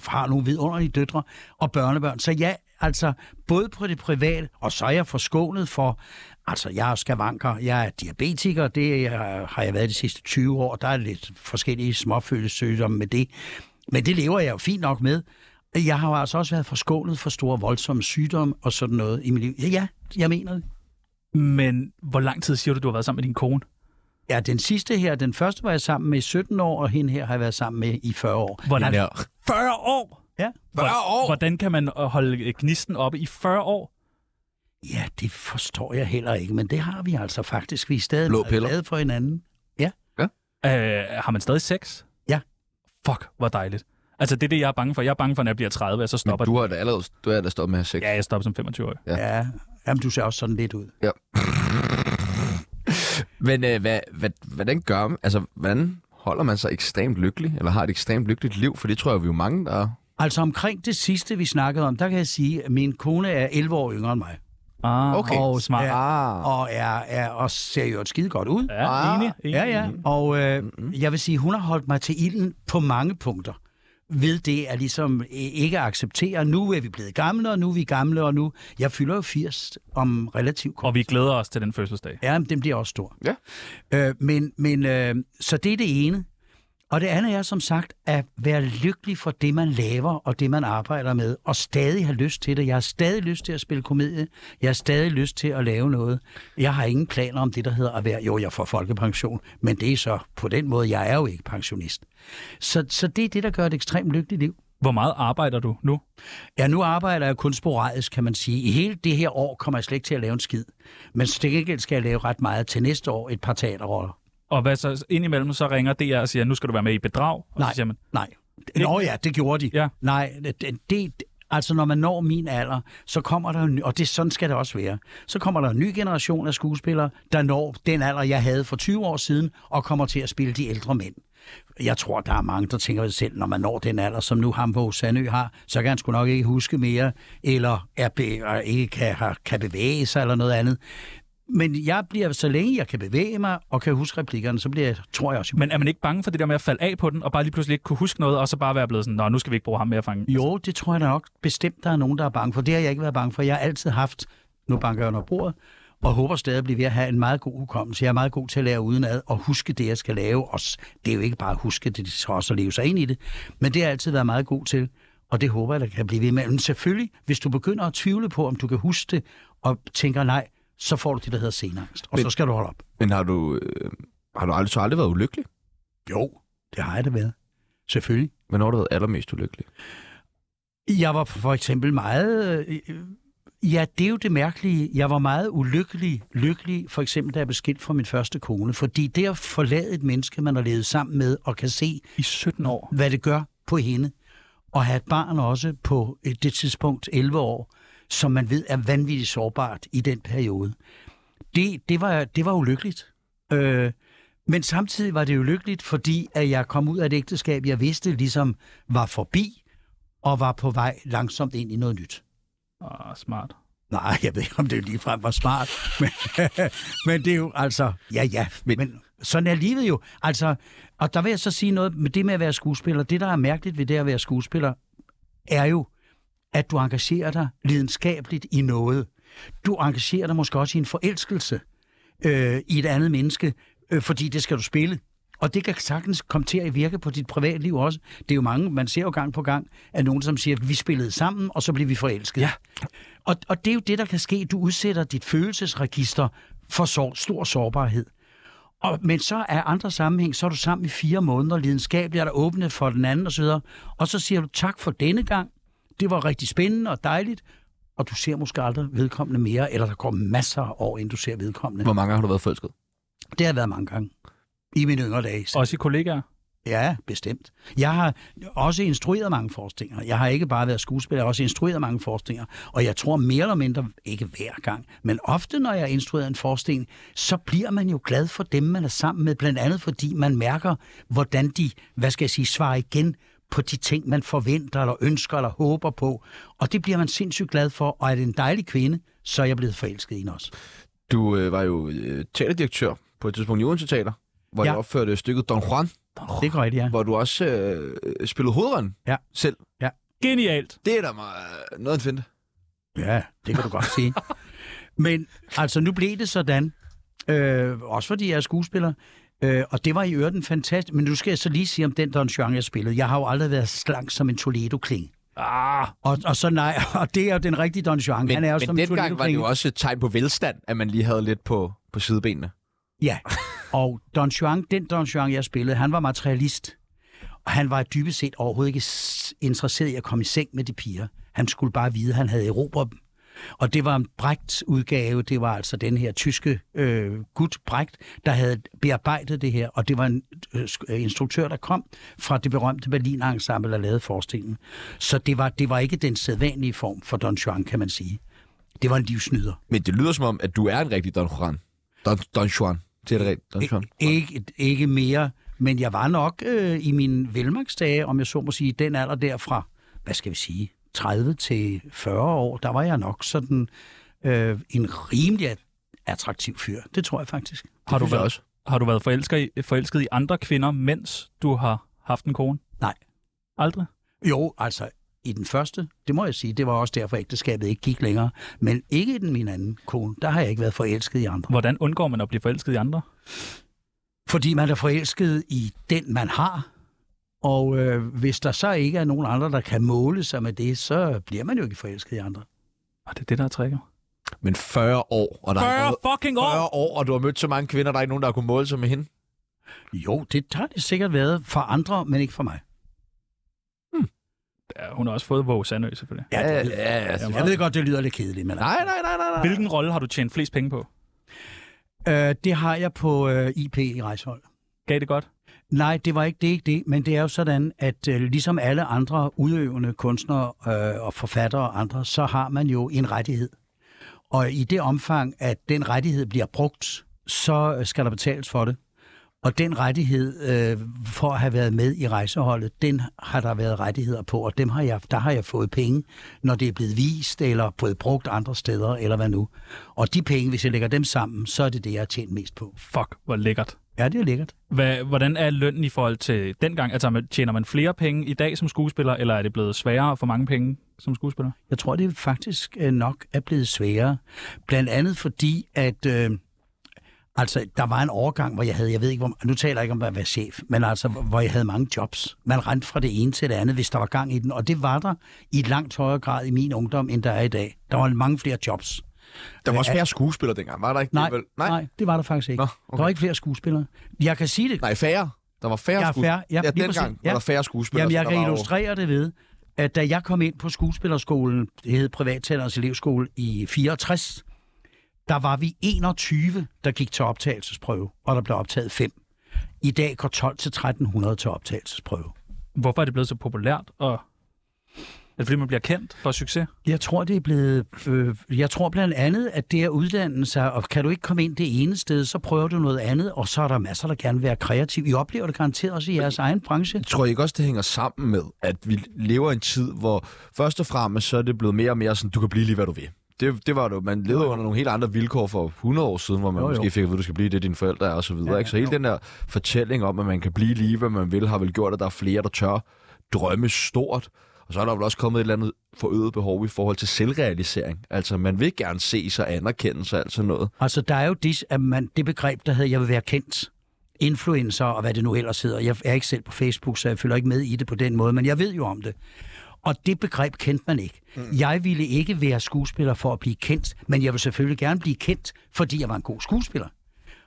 [SPEAKER 3] har nogle vidunderlige døtre og børnebørn. Så ja, altså både på det private, og så er jeg forskånet for, altså jeg er skavanker, jeg er diabetiker, det er- har jeg været de sidste 20 år, der er lidt forskellige småfølelsessygdomme med det. Men det lever jeg jo fint nok med. Jeg har jo altså også været forskånet for store voldsomme sygdomme og sådan noget i mit liv. Ja, ja, jeg mener det.
[SPEAKER 1] Men hvor lang tid siger du, du har været sammen med din kone?
[SPEAKER 3] Ja, den sidste her, den første var jeg sammen med i 17 år, og hende her har jeg været sammen med i 40 år.
[SPEAKER 1] Hvordan?
[SPEAKER 2] Ja.
[SPEAKER 1] 40 år!
[SPEAKER 3] Ja,
[SPEAKER 2] 40 år!
[SPEAKER 1] Hvordan kan man øh, holde øh, gnisten oppe i 40 år?
[SPEAKER 3] ja det forstår jeg heller ikke, men det har vi altså faktisk. Vi er stadig
[SPEAKER 2] Blå
[SPEAKER 3] meget
[SPEAKER 2] piller.
[SPEAKER 3] glade for hinanden.
[SPEAKER 1] Øh, har man stadig sex?
[SPEAKER 3] Ja.
[SPEAKER 1] Fuck, hvor dejligt. Altså, det er det, jeg er bange for. Jeg er bange for, når jeg bliver 30, og så stopper
[SPEAKER 2] Men
[SPEAKER 1] du...
[SPEAKER 2] du har da allerede du er da stoppet med at have sex.
[SPEAKER 1] Ja, jeg stopper som 25-årig.
[SPEAKER 2] Ja.
[SPEAKER 3] Ja, jamen du ser også sådan lidt ud.
[SPEAKER 2] Men øh, hvad, hvad, hvordan gør man? Altså, hvordan holder man sig ekstremt lykkelig? Eller har et ekstremt lykkeligt liv? For det tror jeg, vi er jo mange, der...
[SPEAKER 3] Altså omkring det sidste, vi snakkede om, der kan jeg sige, at min kone er 11 år yngre end mig.
[SPEAKER 1] Ah,
[SPEAKER 2] Okay.
[SPEAKER 1] Og smart.
[SPEAKER 3] Ja.
[SPEAKER 1] Ja.
[SPEAKER 2] Ah.
[SPEAKER 3] Og, er, er, og ser jo et skide godt ud.
[SPEAKER 1] Ja, enig, enig.
[SPEAKER 3] Ah. Ja, ja. Og øh, jeg vil sige, hun har holdt mig til ilden på mange punkter. Ved det at ligesom øh, ikke acceptere, nu er vi blevet gamle, og nu er vi gamle, og nu... Jeg fylder jo 80 om relativt kort.
[SPEAKER 1] Og vi glæder os til den fødselsdag.
[SPEAKER 3] Ja, men den bliver også stor.
[SPEAKER 2] Ja.
[SPEAKER 3] Øh, men, men, øh, så det er det ene. Og det andet er som sagt at være lykkelig for det, man laver og det, man arbejder med, og stadig have lyst til det. Jeg har stadig lyst til at spille komedie. Jeg har stadig lyst til at lave noget. Jeg har ingen planer om det, der hedder at være, jo, jeg får folkepension, men det er så på den måde, jeg er jo ikke pensionist. Så, så det er det, der gør et ekstremt lykkeligt liv.
[SPEAKER 1] Hvor meget arbejder du nu?
[SPEAKER 3] Ja, nu arbejder jeg kun sporadisk, kan man sige. I hele det her år kommer jeg slet ikke til at lave en skid. Men til gengæld skal jeg lave ret meget til næste år, et par teaterroller.
[SPEAKER 1] Og hvad så indimellem, så ringer DR og siger, nu skal du være med i bedrag. Og
[SPEAKER 3] Nej.
[SPEAKER 1] så siger man,
[SPEAKER 3] Nej. Nå ja, det gjorde de.
[SPEAKER 1] Ja.
[SPEAKER 3] Nej, det, det, altså når man når min alder, så kommer der en ny, og det, sådan skal det også være, så kommer der en ny generation af skuespillere, der når den alder, jeg havde for 20 år siden, og kommer til at spille de ældre mænd. Jeg tror, der er mange, der tænker ved selv, når man når den alder, som nu ham på Sandø har, så kan han sgu nok ikke huske mere, eller er be, er ikke kan, har- kan bevæge sig eller noget andet. Men jeg bliver, så længe jeg kan bevæge mig og kan huske replikkerne, så bliver jeg, tror jeg også,
[SPEAKER 1] men er man ikke bange for det der med at falde af på den, og bare lige pludselig ikke kunne huske noget, og så bare være blevet sådan, nå, nu skal vi ikke bruge ham mere at fange.
[SPEAKER 3] Jo, det tror jeg da nok bestemt, der er nogen, der er bange for. Det har jeg ikke været bange for. Jeg har altid haft, nu banker jeg under bordet, og håber stadig at blive ved at have en meget god hukommelse. Jeg er meget god til at lære udenad og huske det, jeg skal lave. Og s- det er jo ikke bare at huske det, det er også at leve sig ind i det. Men det har jeg altid været meget god til. Og det håber jeg, der kan blive ved med. Men selvfølgelig, hvis du begynder at tvivle på, om du kan huske det, og tænker nej, så får du det, der hedder senangst. Og Men...
[SPEAKER 2] Men-
[SPEAKER 3] så skal du holde op.
[SPEAKER 2] Men har du, øh, har du aldrig, så aldrig været ulykkelig?
[SPEAKER 3] Jo, det har jeg da været. Selvfølgelig.
[SPEAKER 2] Hvornår har du været allermest ulykkelig?
[SPEAKER 3] Jeg var for eksempel meget... øh, øh, Ja, det er jo det mærkelige. Jeg var meget ulykkelig, lykkelig, for eksempel da jeg blev skilt fra min første kone. Fordi det at forlade et menneske, man har levet sammen med, og kan se,
[SPEAKER 1] I 17 år.
[SPEAKER 3] hvad det gør på hende, og have et barn også på øh, det tidspunkt 11 år, som man ved er vanvittigt sårbart i den periode. Det, det, var, det var ulykkeligt. Øh, men samtidig var det ulykkeligt, fordi at jeg kom ud af et ægteskab, jeg vidste ligesom var forbi, og var på vej langsomt ind i noget nyt.
[SPEAKER 1] Ah, smart.
[SPEAKER 3] Nej, jeg ved ikke, om det ligefrem var smart, men, men det er jo altså... Ja, ja, men, men sådan er livet jo. Altså, og der vil jeg så sige noget med det med at være skuespiller. Det, der er mærkeligt ved det at være skuespiller, er jo, at du engagerer dig lidenskabeligt i noget. Du engagerer dig måske også i en forelskelse øh, i et andet menneske, øh, fordi det skal du spille. Og det kan sagtens komme til at virke på dit privatliv også. Det er jo mange, man ser jo gang på gang, at nogen, som siger, at vi spillede sammen, og så blev vi forelsket. Ja. Og, og det er jo det, der kan ske. Du udsætter dit følelsesregister for sår, stor sårbarhed. Og, men så er andre sammenhæng, så er du sammen i fire måneder, lidenskabeligt er der åbne for den anden osv., og så siger du tak for denne gang, det var rigtig spændende og dejligt, og du ser måske aldrig vedkommende mere, eller der går masser af år, inden du ser vedkommende.
[SPEAKER 2] Hvor mange gange har du været forelsket?
[SPEAKER 3] Det har jeg været mange gange. I mine yngre dage. Og...
[SPEAKER 1] Også i kollegaer.
[SPEAKER 3] Ja, bestemt. Jeg har også instrueret mange forestillinger. Jeg har ikke bare været skuespiller, jeg har også instrueret mange forestillinger. Og jeg tror mere eller mindre, ikke hver gang, men ofte når jeg har instrueret en forestilling, så bliver man jo glad for dem, man er sammen med. Blandt andet fordi man mærker, hvordan de, hvad skal jeg sige, svarer igen på de ting, man forventer, eller ønsker, eller håber på. Og det bliver man sindssygt glad for. Og er det en dejlig kvinde, så er jeg blevet forelsket i hende også.
[SPEAKER 2] Du øh, var jo øh, teaterdirektør på et tidspunkt i Odense Teater, hvor
[SPEAKER 3] Ja.
[SPEAKER 2] ja. du opførte stykket Don Juan,
[SPEAKER 3] Det går rigtigt, ja.
[SPEAKER 2] hvor du også øh, spillede hovedrollen
[SPEAKER 3] Ja.
[SPEAKER 2] selv.
[SPEAKER 1] Genialt.
[SPEAKER 2] Det er da meget, øh, noget at finde.
[SPEAKER 3] Ja, det kan du godt sige. Men altså, nu blev det sådan, øh, også fordi jeg er skuespiller, øh, og det var i øvrigt en fantastisk... Men nu skal jeg så lige sige om den Don Juan, jeg spillede. Jeg har jo aldrig været slank som en Toledo-kling.
[SPEAKER 1] Ah,
[SPEAKER 3] Og, og så nej, og det er jo den rigtige Don Juan.
[SPEAKER 2] Men,
[SPEAKER 3] Han er jo som
[SPEAKER 2] men
[SPEAKER 3] en
[SPEAKER 2] dengang var det jo
[SPEAKER 3] Toledo-klinge.
[SPEAKER 2] også et tegn på velstand, at man lige havde lidt på, på sidebenene.
[SPEAKER 3] Ja, og Don Juan, den Don Juan, jeg spillede, han var materialist. Og han var dybest set overhovedet ikke s- interesseret i at komme i seng med de piger. Han skulle bare vide, at han havde erobret dem. Og det var en Brechts udgave, det var altså den her tyske øh, gut Brecht, der havde bearbejdet det her, og det var en øh, sk- øh, instruktør, der kom fra det berømte Berlin Ensemble, der lavede forestillingen. Så det var, det var ikke den sædvanlige form for Don Juan, kan man sige. Det var en livsnyder.
[SPEAKER 2] Men det lyder som om, at du er en rigtig Don Juan. Don, Don Juan. Det er det rigtigt. Don Juan.
[SPEAKER 3] Ikke, ikke mere, men jeg var nok øh, i mine velmagsdage, om jeg så må sige, den alder derfra, hvad skal vi sige, 30 til 40 år, der var jeg nok sådan øh, en rimelig attraktiv fyr. Det tror jeg faktisk.
[SPEAKER 1] har du
[SPEAKER 2] synes jeg
[SPEAKER 1] været,
[SPEAKER 2] også.
[SPEAKER 1] Har du været forelsket i, forelsket i andre kvinder, mens du har haft en kone?
[SPEAKER 3] Nej.
[SPEAKER 1] Aldrig?
[SPEAKER 3] Jo, altså i den første, det må jeg sige, det var også derfor ægteskabet ikke gik længere, men ikke i den min anden kone, der har jeg ikke været forelsket i andre.
[SPEAKER 1] Hvordan undgår man at blive forelsket i andre?
[SPEAKER 3] Fordi man er forelsket i den, man har. Og øh, hvis der så ikke er nogen andre, der kan måle sig med det, så bliver man jo ikke forelsket i andre.
[SPEAKER 1] Og Ah, det er det, der er tricket.
[SPEAKER 2] Men 40 år, og der er
[SPEAKER 1] 40
[SPEAKER 2] ikke
[SPEAKER 1] fucking år!
[SPEAKER 2] noget, 40 år, og du har mødt så mange kvinder, der er ikke nogen, der har kunnet måle sig med hende.
[SPEAKER 3] Jo, det har det sikkert været for andre, men ikke for mig.
[SPEAKER 1] Ja, hun har også fået Våge Sandø, selvfølgelig.
[SPEAKER 3] Ja, det lyder,
[SPEAKER 2] ja, ja.
[SPEAKER 3] Altså, jeg ved godt, det lyder lidt kedeligt, men
[SPEAKER 2] Nej, nej, nej, nej, nej.
[SPEAKER 1] Hvilken rolle har du tjent flest penge på?
[SPEAKER 3] øh, det har jeg på øh, IP i Rejshold.
[SPEAKER 1] Gav det godt?
[SPEAKER 3] Nej, det var ikke det, er ikke det, men det er jo sådan, at øh, ligesom alle andre udøvende kunstnere øh, og forfattere og andre, så har man jo en rettighed. Og i det omfang, at den rettighed bliver brugt, så øh, skal der betales for det. Og den rettighed øh, for at have været med i rejseholdet, den har der været rettigheder på, og dem har jeg, der har jeg fået penge, når det er blevet vist eller blevet brugt andre steder, eller hvad nu. Og de penge, hvis jeg lægger dem sammen, så er det det, jeg har tjent mest på.
[SPEAKER 1] Fuck, hvor lækkert.
[SPEAKER 3] Ja, det er lækkert.
[SPEAKER 1] Hvad, hvordan er lønnen i forhold til dengang? Altså, man- tjener man flere penge i dag som skuespiller, eller er det blevet sværere for mange penge som skuespiller?
[SPEAKER 3] Jeg tror, det faktisk øh, nok er blevet sværere. Blandt andet fordi, at øh, Altså, der var en overgang, hvor jeg havde, jeg ved ikke, hvor, nu taler jeg ikke om at være chef, men altså, hvor hvor jeg havde mange jobs. Man rendte fra det ene til det andet, hvis der var gang i den, og det var der i langt højere grad i min ungdom, end der er i dag. Der var mange flere jobs.
[SPEAKER 2] Der var også færre skuespillere dengang, var der ikke?
[SPEAKER 3] Nej,
[SPEAKER 2] det, vel?
[SPEAKER 3] nej. nej det var der faktisk ikke.
[SPEAKER 2] Nå,
[SPEAKER 3] Nå,
[SPEAKER 2] okay.
[SPEAKER 3] okay. Der var ikke flere skuespillere. Jeg kan sige det.
[SPEAKER 2] Nej, færre. Der var færre
[SPEAKER 3] Ja,
[SPEAKER 2] skuespillere.
[SPEAKER 3] færre. Ja, lige præcis.
[SPEAKER 2] dengang var
[SPEAKER 3] Ja.
[SPEAKER 2] der færre skuespillere.
[SPEAKER 3] Jamen,
[SPEAKER 2] så
[SPEAKER 3] jeg
[SPEAKER 2] der
[SPEAKER 3] kan
[SPEAKER 2] var jo-
[SPEAKER 3] illustrere det ved, at da jeg kom ind på skuespillerskolen, det hed Privattændernes Elevskole i 64, der var vi 21, der gik til optagelsesprøve, og der blev optaget 5. I dag går 12 til 1300 til optagelsesprøve.
[SPEAKER 1] Hvorfor er det blevet så populært? Og... Er det fordi, man bliver kendt for succes?
[SPEAKER 3] Jeg tror, det er blevet... Øh, jeg tror blandt andet, at det at uddanne sig, og kan du ikke komme ind det ene sted, så prøver du noget andet, og så er der masser, der gerne vil være kreativ. I oplever det garanteret også i jeres egen branche.
[SPEAKER 2] Tror I ikke også, det hænger sammen med, at vi lever i en tid, hvor først og fremmest så er det blevet mere og mere sådan, du kan blive lige, hvad du vil. Det, det var det. jo. Man levede under nogle helt andre vilkår for 100 år siden, hvor man jo,
[SPEAKER 3] Jo,
[SPEAKER 2] jo.
[SPEAKER 3] jo.
[SPEAKER 2] måske fik at vide, du skal blive det, dine forældre er og så videre. Ja, ikke? Så hele den der fortælling om, at man kan blive lige, hvad man vil, har vel gjort, at der er flere, der tør drømme stort. Og så er der vel også kommet et eller andet forøget behov i forhold til selvrealisering. Altså, man vil gerne se sig, anerkende sig, alt sådan noget.
[SPEAKER 3] Altså, der er jo det, at man, det begreb, der hedder, jeg vil være kendt. Influencer og hvad det nu ellers hedder. Jeg er ikke selv på Facebook, så jeg følger ikke med i det på den måde, men jeg ved jo om det. Og det begreb kendte man ikke. Mm. Jeg ville ikke være skuespiller for at blive kendt, men jeg vil selvfølgelig gerne blive kendt, fordi jeg var en god skuespiller.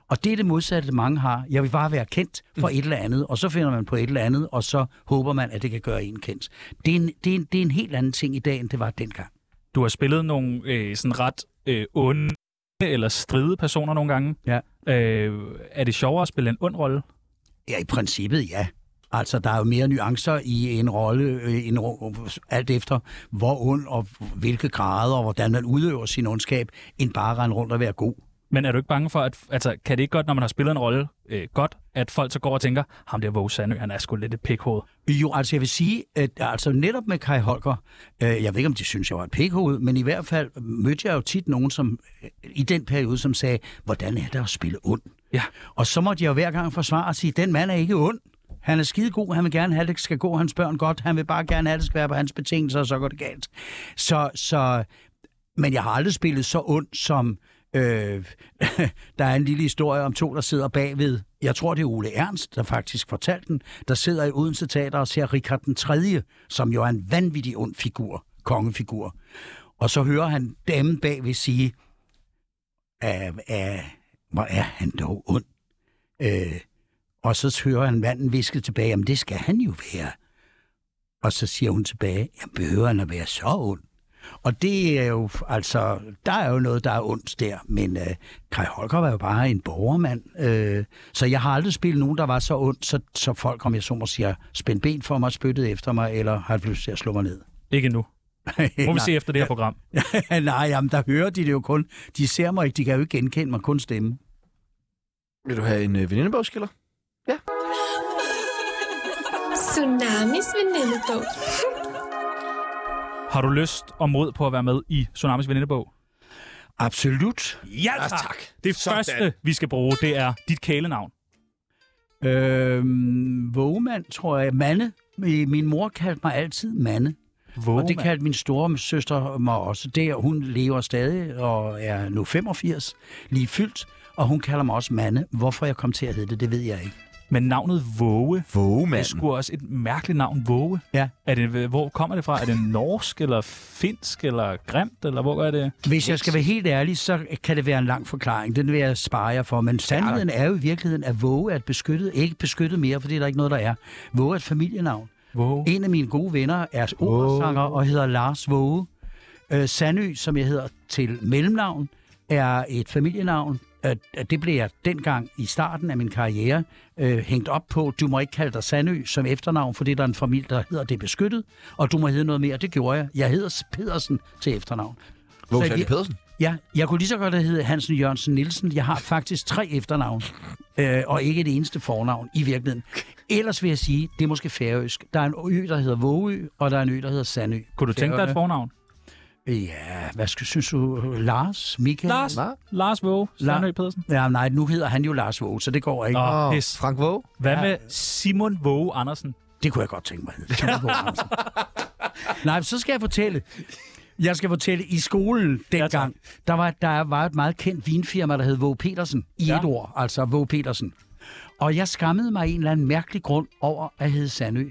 [SPEAKER 3] Og det er det modsatte, mange har. Jeg vil bare være kendt for et eller andet, og så finder man på et eller andet, og så håber man, at det kan gøre en kendt. Det er en, det er en, det er en helt anden ting i dag, end det var dengang.
[SPEAKER 1] Du har spillet nogle øh, sådan ret øh, onde eller stride personer nogle gange.
[SPEAKER 3] Ja.
[SPEAKER 1] Øh, er det sjovere at spille en ond rolle?
[SPEAKER 3] Ja, i princippet ja. Altså, der er jo mere nuancer i en rolle, øh, en, ro- alt efter hvor ond og hvilke grader, og hvordan man udøver sin ondskab, end bare at rende rundt og være god.
[SPEAKER 1] Men er du ikke bange for, at altså, kan det ikke godt, når man har spillet en rolle øh, godt, at folk så går og tænker, ham der Våge Sandø, han er sgu lidt et pikhoved.
[SPEAKER 3] Jo, altså jeg vil sige, at altså, netop med Kai Holger, øh, jeg ved ikke om de synes, jeg var et pikhoved, men i hvert fald mødte jeg jo tit nogen som, øh, i den periode, som sagde, hvordan er det at spille ond?
[SPEAKER 1] Ja.
[SPEAKER 3] Og så måtte jeg jo hver gang forsvare og sige, den mand er ikke ond. Han er skide god, han vil gerne have, at det skal gå hans børn godt, han vil bare gerne have, at det skal være på hans betingelser, og så går det galt. Så, så men jeg har aldrig spillet så ondt som... Øh, der er en lille historie om to, der sidder bagved. Jeg tror, det er Ole Ernst, der faktisk fortalte den. Der sidder i Odense Teater og ser Richard den 3., som jo er en vanvittig ond figur, kongefigur. Og så hører han damen bagved sige, "Ah, ah, hvor er han dog ond. Øh, og så hører han manden viske tilbage, jamen det skal han jo være. Og så siger hun tilbage, jamen behøver han at være så ond? Og det er jo, altså, der er jo noget, der er ondt der, men øh, Kai Holger var jo bare en borgermand, øh, så jeg har aldrig spillet nogen, der var så ondt, så, så folk, om jeg så må sige, spændt ben for mig, spyttede efter mig, eller har lyst til at slå mig ned.
[SPEAKER 1] Ikke endnu. Må vi
[SPEAKER 3] Nej.
[SPEAKER 1] se efter det her program.
[SPEAKER 3] Nej, jamen, der hører de det jo kun. De ser mig ikke, de kan jo ikke genkende mig, kun stemme.
[SPEAKER 2] Vil du have en øh, venindebogskiller?
[SPEAKER 8] Tsunamis venindebog.
[SPEAKER 1] Har du lyst og mod på at være med i Tsunamis venindebog?
[SPEAKER 3] Absolut.
[SPEAKER 1] Ja tak! tak. Det første, vi skal bruge, det er dit kælenavn.
[SPEAKER 3] Øh, vågemand, tror jeg. Mande. Øh, Min mor kaldte mig altid Mande.
[SPEAKER 1] Våge,
[SPEAKER 3] Og det kaldte min store søster mig også. Der, hun lever stadig og er nu 85, lige fyldt. Og hun kalder mig også Mande. Hvorfor jeg kom til at hedde det, det ved jeg ikke.
[SPEAKER 1] Men navnet Våge, det er
[SPEAKER 2] Vågemanden.
[SPEAKER 1] sgu også et mærkeligt navn, Våge.
[SPEAKER 3] Ja.
[SPEAKER 1] Er det, hvor kommer det fra? Er det norsk, eller finsk, eller grimt, eller hvor er det?
[SPEAKER 3] Hvis jeg skal være helt ærlig, så kan det være en lang forklaring. Den vil jeg spare jer for. Men sandheden er jo i virkeligheden, at våge er et beskyttet, ikke beskyttet mere, fordi der er ikke noget, der er. Våge er et familienavn.
[SPEAKER 1] Våge.
[SPEAKER 3] En af mine gode venner er operasanger og hedder Lars Våge. Øh, Sandø, som jeg hedder til mellemnavn, er et familienavn. Øh, det blev jeg dengang i starten af min karriere øh, hængt op på. Du må ikke kalde dig Sandø som efternavn, fordi der er en familie, der hedder det er beskyttet, og du må hedde noget mere. Det gjorde jeg. Jeg hedder Pedersen til efternavn.
[SPEAKER 2] Våge
[SPEAKER 3] Så
[SPEAKER 2] Sandy
[SPEAKER 3] jeg-
[SPEAKER 2] Pedersen.
[SPEAKER 3] Ja, jeg kunne lige så godt have heddet Hansen Jørgensen Nielsen. Jeg har faktisk tre efternavn, øh, og ikke et eneste fornavn i virkeligheden. Ellers vil jeg sige, det er måske færøsk. Der er en ø, der hedder Vågeø, og der er en ø, der hedder Sandø.
[SPEAKER 1] Kunne du tænke dig et fornavn?
[SPEAKER 3] Ja, hvad skal, synes du? Lars? Michael?
[SPEAKER 1] Lars,
[SPEAKER 2] Hva?
[SPEAKER 1] Lars Våge, Søren
[SPEAKER 3] La-
[SPEAKER 1] Ø. Pedersen.
[SPEAKER 3] Ja, nej, nu hedder han jo Lars Våge, så det går ikke.
[SPEAKER 1] Åh,
[SPEAKER 2] Åh,
[SPEAKER 1] pis.
[SPEAKER 2] Frank Våge.
[SPEAKER 1] Hvad med Simon Våge Andersen?
[SPEAKER 3] altså. Det kunne jeg godt tænke mig. at hedde. Simon Våge Andersen. Nej, men så skal jeg fortælle. Jeg skal fortælle, i skolen dengang, ja, der, var, der var et meget kendt vinfirma, der hed Våge Petersen. I ja. et ord, altså Våge Petersen. Og jeg skammede mig af en eller anden mærkelig grund over at hedde Sandø.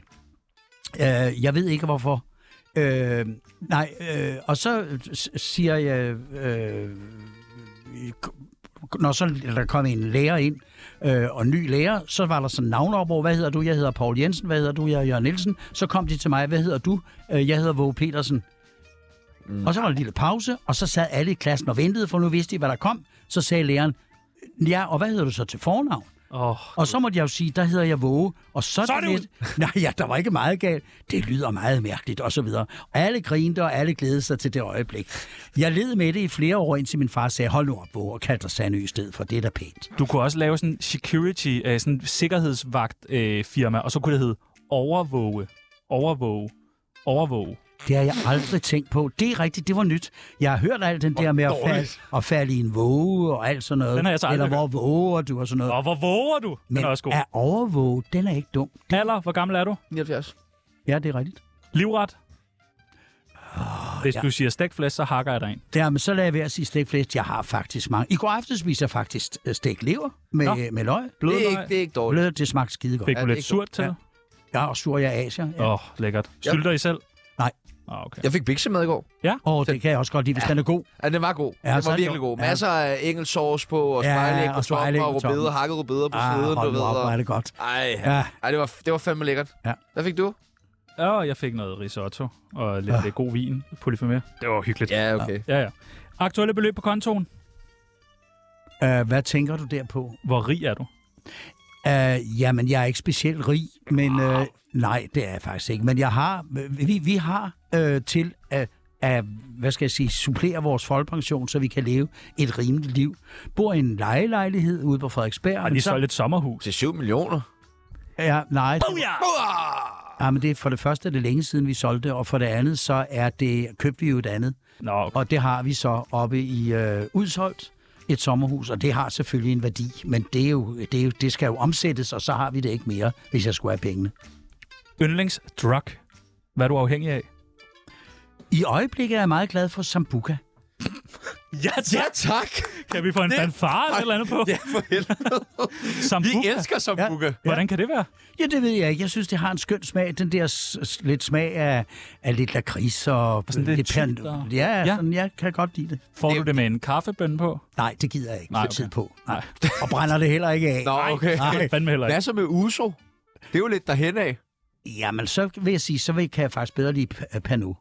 [SPEAKER 3] Øh, jeg ved ikke hvorfor. Øh, nej, øh, og så s- siger jeg... Øh, når så der kom en lærer ind, øh, og en ny lærer, så var der sådan navn op over, hvad hedder du? Jeg hedder Paul Jensen. Hvad hedder du? Jeg er Jørgen Nielsen. Så kom de til mig, hvad hedder du? Øh, jeg hedder Våge Petersen. Mm. Og så var der en lille pause, og så sad alle i klassen og ventede, for nu vidste de, hvad der kom. Så sagde læreren, ja, og hvad hedder du så til fornavn?
[SPEAKER 1] Åh,
[SPEAKER 3] Og så måtte jeg jo sige, der hedder jeg Våge. Og så, så er det lidt, Nej, ja, der var ikke meget galt. Det lyder meget mærkeligt, og så videre. Og alle grinte, og alle glædede sig til det øjeblik. Jeg led med det i flere år, indtil min far sagde, hold nu op, Våge, og kald dig Sandø i stedet for. Det er da pænt.
[SPEAKER 1] du kunne også lave sådan en security, øh, sådan en sikkerhedsvagt øh, firma, og så kunne det hedde overvåge, overvåge, overvåge.
[SPEAKER 3] Det har jeg aldrig tænkt på. Det er rigtigt, det var nyt. Jeg har hørt alt den der med at falde, at falde i en våge og alt sådan noget.
[SPEAKER 1] Den har jeg så aldrig
[SPEAKER 3] Eller hvor våger du og sådan noget.
[SPEAKER 1] Og hvor våger du? Den
[SPEAKER 3] Men
[SPEAKER 1] er også god.
[SPEAKER 3] at overvåge, den er ikke dum.
[SPEAKER 1] Alder, hvor gammel er du?
[SPEAKER 2] 79.
[SPEAKER 3] Ja, det er rigtigt.
[SPEAKER 1] Livret? Hvis du siger stegt flæsk, så hakker jeg dig ind.
[SPEAKER 3] Jamen, så lader jeg være at sige stegflæst. Jeg har faktisk mange. I går aftes spiser jeg faktisk øh, stegt lever med, øh,
[SPEAKER 1] Nå.
[SPEAKER 3] med løg.
[SPEAKER 1] Blød
[SPEAKER 2] Det er ikke, det er ikke dårligt.
[SPEAKER 3] Blød, det smagte skide godt.
[SPEAKER 1] Fik du
[SPEAKER 2] det er
[SPEAKER 1] lidt
[SPEAKER 2] ikke
[SPEAKER 1] surt til? Åh,
[SPEAKER 3] Ja, og sur jeg asier. Ja.
[SPEAKER 1] ja. oh, lækkert. Sylter I selv?
[SPEAKER 3] Nej.
[SPEAKER 1] Ah, okay.
[SPEAKER 2] Jeg fik biksemad i går.
[SPEAKER 3] Og det kan jeg også godt lide, hvis ja. den er god.
[SPEAKER 2] Ja, den var god.
[SPEAKER 3] Ja,
[SPEAKER 2] Ja, den
[SPEAKER 3] så er
[SPEAKER 2] var
[SPEAKER 3] det
[SPEAKER 2] virkelig
[SPEAKER 3] jo-
[SPEAKER 2] god.
[SPEAKER 3] ja.
[SPEAKER 2] Masser af engelsk sauce på, og
[SPEAKER 3] Ja,
[SPEAKER 2] spejlæg
[SPEAKER 3] og
[SPEAKER 2] på toppen,
[SPEAKER 3] spejlæg på
[SPEAKER 2] og rubeder,
[SPEAKER 3] toppen.
[SPEAKER 2] hakket rubeder på
[SPEAKER 3] Ah,
[SPEAKER 2] siden, du
[SPEAKER 3] hold
[SPEAKER 2] ved.
[SPEAKER 3] nu op,
[SPEAKER 2] og-
[SPEAKER 3] hvor er det godt.
[SPEAKER 2] Ej, ja.
[SPEAKER 3] Ja.
[SPEAKER 2] Ej det, var, det var fandme lækkert.
[SPEAKER 3] Ja.
[SPEAKER 2] Hvad fik du?
[SPEAKER 1] Ja, og jeg fik noget risotto og lidt øh, god vin, polyfemé. Det var hyggeligt. Ja.
[SPEAKER 2] Ja, okay.
[SPEAKER 1] ja, ja. Aktuelle beløb på kontoen.
[SPEAKER 3] Uh, hvad tænker du der på?
[SPEAKER 1] Hvor rig er du?
[SPEAKER 3] Uh, jamen, jeg er ikke specielt rig, men uh, nej, det er jeg faktisk ikke. Men jeg har, vi, vi har uh, til at, at, hvad skal jeg sige, supplere vores folkepension, så vi kan leve et rimeligt liv. Bor i en lejelejlighed ude på Frederiksberg.
[SPEAKER 1] Har
[SPEAKER 3] men
[SPEAKER 1] lige
[SPEAKER 3] så-
[SPEAKER 1] solgt et sommerhus.
[SPEAKER 2] Til 7 millioner.
[SPEAKER 3] Ja, nej. Det, ja, men det er for det første er det længe siden, vi solgte, og for det andet, så er det, købte vi jo et andet.
[SPEAKER 1] Nå, okay.
[SPEAKER 3] Og det har vi så oppe i øh, Udsholdt, et sommerhus, og det har selvfølgelig en værdi, men det, er jo, det, er jo, det skal jo omsættes, og så har vi det ikke mere, hvis jeg skulle have pengene.
[SPEAKER 1] yndlingsdrug. Hvad er du afhængig af?
[SPEAKER 3] I øjeblikket er jeg meget glad for Sambuca.
[SPEAKER 1] Ja tak. ja,
[SPEAKER 2] tak.
[SPEAKER 1] Kan vi få en fanfare eller et eller andet på?
[SPEAKER 2] Ja, for helvede. Vi
[SPEAKER 1] Sambuca?
[SPEAKER 2] elsker sambuca. Ja.
[SPEAKER 1] Hvordan kan det være?
[SPEAKER 3] Ja, det ved jeg ikke. Jeg synes, det har en skøn smag. Den der s- s- lidt smag af, af lidt lakrids og...
[SPEAKER 1] sådan lidt
[SPEAKER 3] pern-
[SPEAKER 1] tykt og-
[SPEAKER 3] Ja,
[SPEAKER 1] Ja.
[SPEAKER 3] ja. Sådan, jeg kan godt lide det.
[SPEAKER 1] Får du det med en kaffebønne på?
[SPEAKER 3] Nej, det gider jeg ikke
[SPEAKER 1] Nej,
[SPEAKER 3] Nej,
[SPEAKER 1] okay.
[SPEAKER 3] okay. tid på. Nej. Og brænder det heller ikke af.
[SPEAKER 2] Nå, okay.
[SPEAKER 1] Nej, fandme heller
[SPEAKER 2] Ah, Hvad
[SPEAKER 1] ikke.
[SPEAKER 2] så med Uso? Det er jo lidt derhen af.
[SPEAKER 3] Jamen, så vil jeg sige, så vil- kan jeg faktisk bedre lide p- Pernod.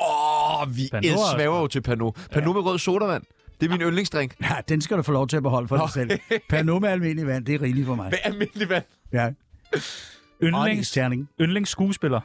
[SPEAKER 2] Åh, vi
[SPEAKER 1] Pernod er også
[SPEAKER 2] svæver jo til Pano. Pano med rød sodavand. Det er min yndlingsdrink.
[SPEAKER 3] Ja, den skal du få lov til at beholde for dig selv. Pernod med almindelig vand, det er rigeligt for mig.
[SPEAKER 2] Hvad er almindelig vand?
[SPEAKER 3] Ja. Og en
[SPEAKER 1] Yndlings,
[SPEAKER 3] isterning.
[SPEAKER 1] yndlingsskuespiller.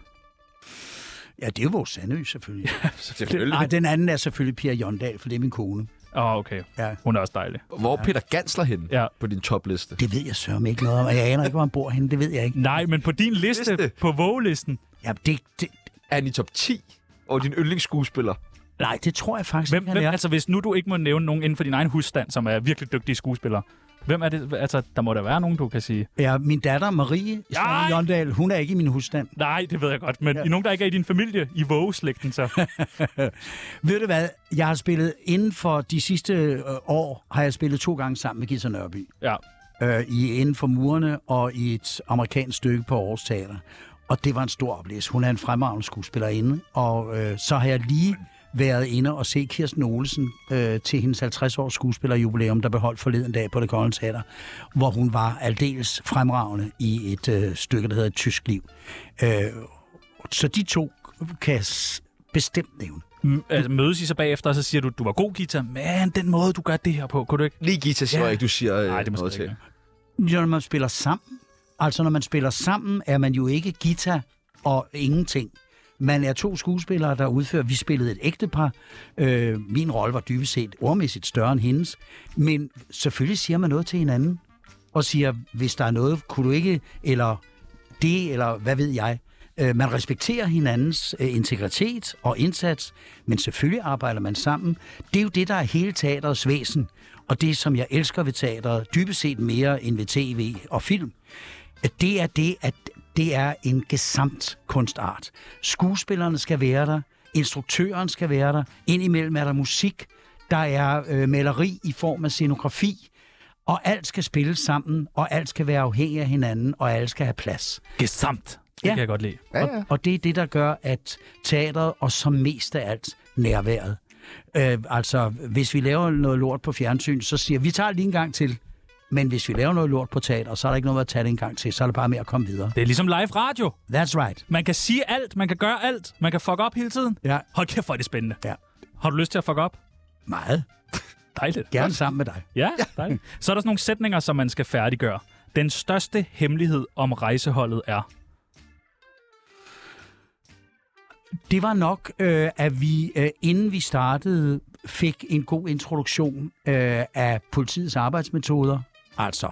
[SPEAKER 3] Ja, det er jo vores Sandø, selvfølgelig.
[SPEAKER 2] Selvfølgelig.
[SPEAKER 3] Nej, den anden er selvfølgelig Pia Jondal, for det er min kone.
[SPEAKER 1] Åh, oh, okay.
[SPEAKER 3] Ja.
[SPEAKER 1] Hun er også dejlig.
[SPEAKER 2] Hvor er Peter Gansler henne
[SPEAKER 1] Ja.
[SPEAKER 2] ja. på din topliste?
[SPEAKER 3] Det ved jeg sørme ikke noget om, og jeg aner ikke, hvor han bor henne, det ved jeg ikke.
[SPEAKER 1] Nej, men på din liste,
[SPEAKER 2] Liste.
[SPEAKER 1] på vågelisten,
[SPEAKER 3] Ja, det, det,
[SPEAKER 2] Er han i top 10? Og din yndlingsskuespiller?
[SPEAKER 3] nej, det tror jeg faktisk
[SPEAKER 1] hvem,
[SPEAKER 3] ikke, han
[SPEAKER 1] hvem,
[SPEAKER 3] er.
[SPEAKER 1] altså hvis nu du ikke må nævne nogen inden for din egen husstand, som er virkelig dygtige skuespillere, hvem er det? Altså, der må der være nogen, du kan sige.
[SPEAKER 3] Ja, min datter Marie
[SPEAKER 1] Nej!
[SPEAKER 3] ja. Jondal, hun er ikke i min husstand.
[SPEAKER 1] Nej, det ved jeg godt, men ja. nogen, der ikke er i din familie, i vågeslægten så.
[SPEAKER 3] Ved du hvad, jeg har spillet inden for de sidste øh, år, har jeg spillet to gange sammen med Gita Nørby.
[SPEAKER 1] ja.
[SPEAKER 3] øh, i Inden for Murene og i et amerikansk stykke på Aarhus Teater. Og det var en stor oplevelse. Hun er en fremragende skuespillerinde, og øh, så har jeg lige været inde og se Kirsten Olesen øh, til hendes 50-års skuespillerjubilæum, der beholdt forleden dag på det Kongelige Teater, hvor hun var aldeles fremragende i et øh, stykke, der hedder Et Tysk Liv. Øh, så de to kan jeg s- bestemt nævne.
[SPEAKER 1] M- altså, mødes I så bagefter, og så siger du, du var god, Gita, men den måde, du gør det her på, kunne du ikke?
[SPEAKER 2] Lige Gita tror
[SPEAKER 1] Ja.
[SPEAKER 2] jeg ikke, du siger øh,
[SPEAKER 1] Nej, det er måske
[SPEAKER 2] noget til.
[SPEAKER 1] ikke.
[SPEAKER 3] Når man spiller sammen, altså når man spiller sammen, er man jo ikke guitar og ingenting. Man er to skuespillere, der udfører. Vi spillede et ægtepar. Øh, min rolle var dybest set ordmæssigt større end hendes. Men selvfølgelig siger man noget til hinanden. Og siger, hvis der er noget, kunne du ikke, eller det, eller hvad ved jeg. Øh, man respekterer hinandens øh, integritet og indsats, men selvfølgelig arbejder man sammen. Det er jo det, der er hele teaterets væsen, og det, som jeg elsker ved teateret, dybest set mere end ved tv og film, at det er det, at det er en gesamt kunstart. Skuespillerne skal være der, Instruktøren skal være der. Indimellem er der musik. Der er øh, maleri i form af scenografi. Og alt skal spilles sammen, og alt skal være afhængig af hinanden, og alt skal have plads.
[SPEAKER 1] Gesamt. Det
[SPEAKER 3] Ja.
[SPEAKER 1] kan jeg godt lide.
[SPEAKER 3] Ja, ja. Og, og det er det, der gør, at teateret og som mest af alt nærværet. Øh, altså, hvis vi laver noget lort på fjernsyn, så siger vi, vi tager det lige en gang til. Men hvis vi laver noget lort på teater, så er der ikke noget at tage det en gang til. Så er det bare med at komme videre.
[SPEAKER 1] Det er ligesom live radio.
[SPEAKER 3] That's right.
[SPEAKER 1] Man kan sige alt, man kan gøre alt, man kan fuck op hele tiden.
[SPEAKER 3] Ja.
[SPEAKER 1] Hold kæft, hvor er det spændende.
[SPEAKER 3] Ja.
[SPEAKER 1] Har du lyst til at fuck op?
[SPEAKER 3] Meget.
[SPEAKER 1] Dejligt.
[SPEAKER 3] Gerne sammen med dig.
[SPEAKER 1] Ja, dejligt. Så er der sådan nogle sætninger, som man skal færdiggøre. Den største hemmelighed om rejseholdet er...
[SPEAKER 3] Det var nok, øh, at vi, øh, inden vi startede, fik en god introduktion øh, af politiets arbejdsmetoder. Altså.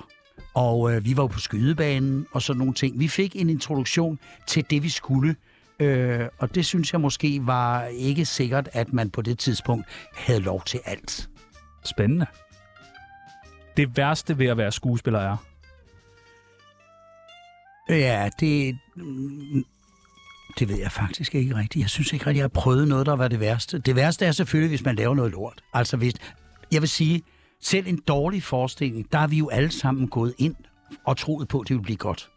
[SPEAKER 3] Og øh, vi var jo på skydebanen og sådan nogle ting. Vi fik en introduktion til det, vi skulle. Øh, og det synes jeg måske var ikke sikkert, at man på det tidspunkt havde lov til alt.
[SPEAKER 1] Spændende. Det værste ved at være skuespiller er...
[SPEAKER 3] Ja, det... mm, Det ved jeg faktisk ikke rigtigt. Jeg synes ikke rigtigt, jeg har prøvet noget, der var det værste. Det værste er selvfølgelig, hvis man laver noget lort. Altså, hvis, jeg vil sige, selv en dårlig forestilling, der er vi jo alle sammen gået ind og troet på, at det ville blive godt.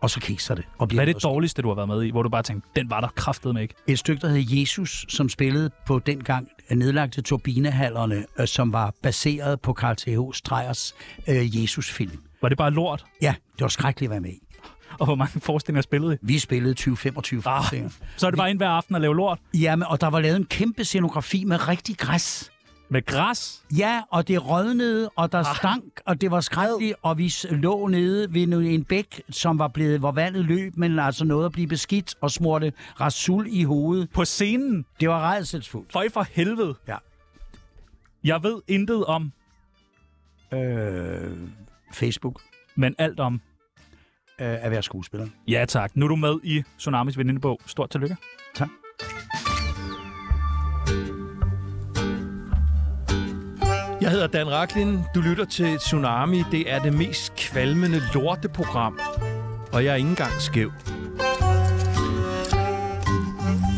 [SPEAKER 3] Og så kikser det. Og bliver
[SPEAKER 1] Hvad er det
[SPEAKER 3] noget skidt.
[SPEAKER 1] dårligste, du har været med i, hvor du bare tænkte, den var der kraftet med ikke?
[SPEAKER 3] Et stykke, der hed Jesus, som spillede på dengang nedlagte turbinehallerne, øh, som var baseret på Carl T.H. Strejers øh, Jesus-film.
[SPEAKER 1] Var det bare lort?
[SPEAKER 3] Ja, det var skrækkeligt at være med i.
[SPEAKER 1] Og hvor mange forestillinger spillede I?
[SPEAKER 3] Vi spillede
[SPEAKER 1] Ah.
[SPEAKER 3] 20-25 forestillinger.
[SPEAKER 1] Så er det bare ind hver aften at lave lort
[SPEAKER 3] Jamen, og der var lavet en kæmpe scenografi med rigtig græs.
[SPEAKER 1] med græs.
[SPEAKER 3] Ja, og det rødnede, og der stank, og det var skræddeligt, og vi s- lå nede ved nu- en bæk, som var blevet, hvor vandet løb, men altså noget at blive beskidt og smurte rasul i hovedet.
[SPEAKER 1] På scenen.
[SPEAKER 3] Det var redselsfuldt.
[SPEAKER 1] Føj for helvede.
[SPEAKER 3] Ja.
[SPEAKER 1] Jeg ved intet om,
[SPEAKER 3] Øh, Facebook
[SPEAKER 1] men alt om.
[SPEAKER 3] øh, at være skuespiller.
[SPEAKER 1] Ja tak. Nu er du med i Tsunamis venindebog. Stort tillykke.
[SPEAKER 3] Tak.
[SPEAKER 9] Jeg hedder Dan Raklin. Du lytter til Tsunami. Det er det mest kvalmende lorteprogram. Og jeg er ikke engang skæv.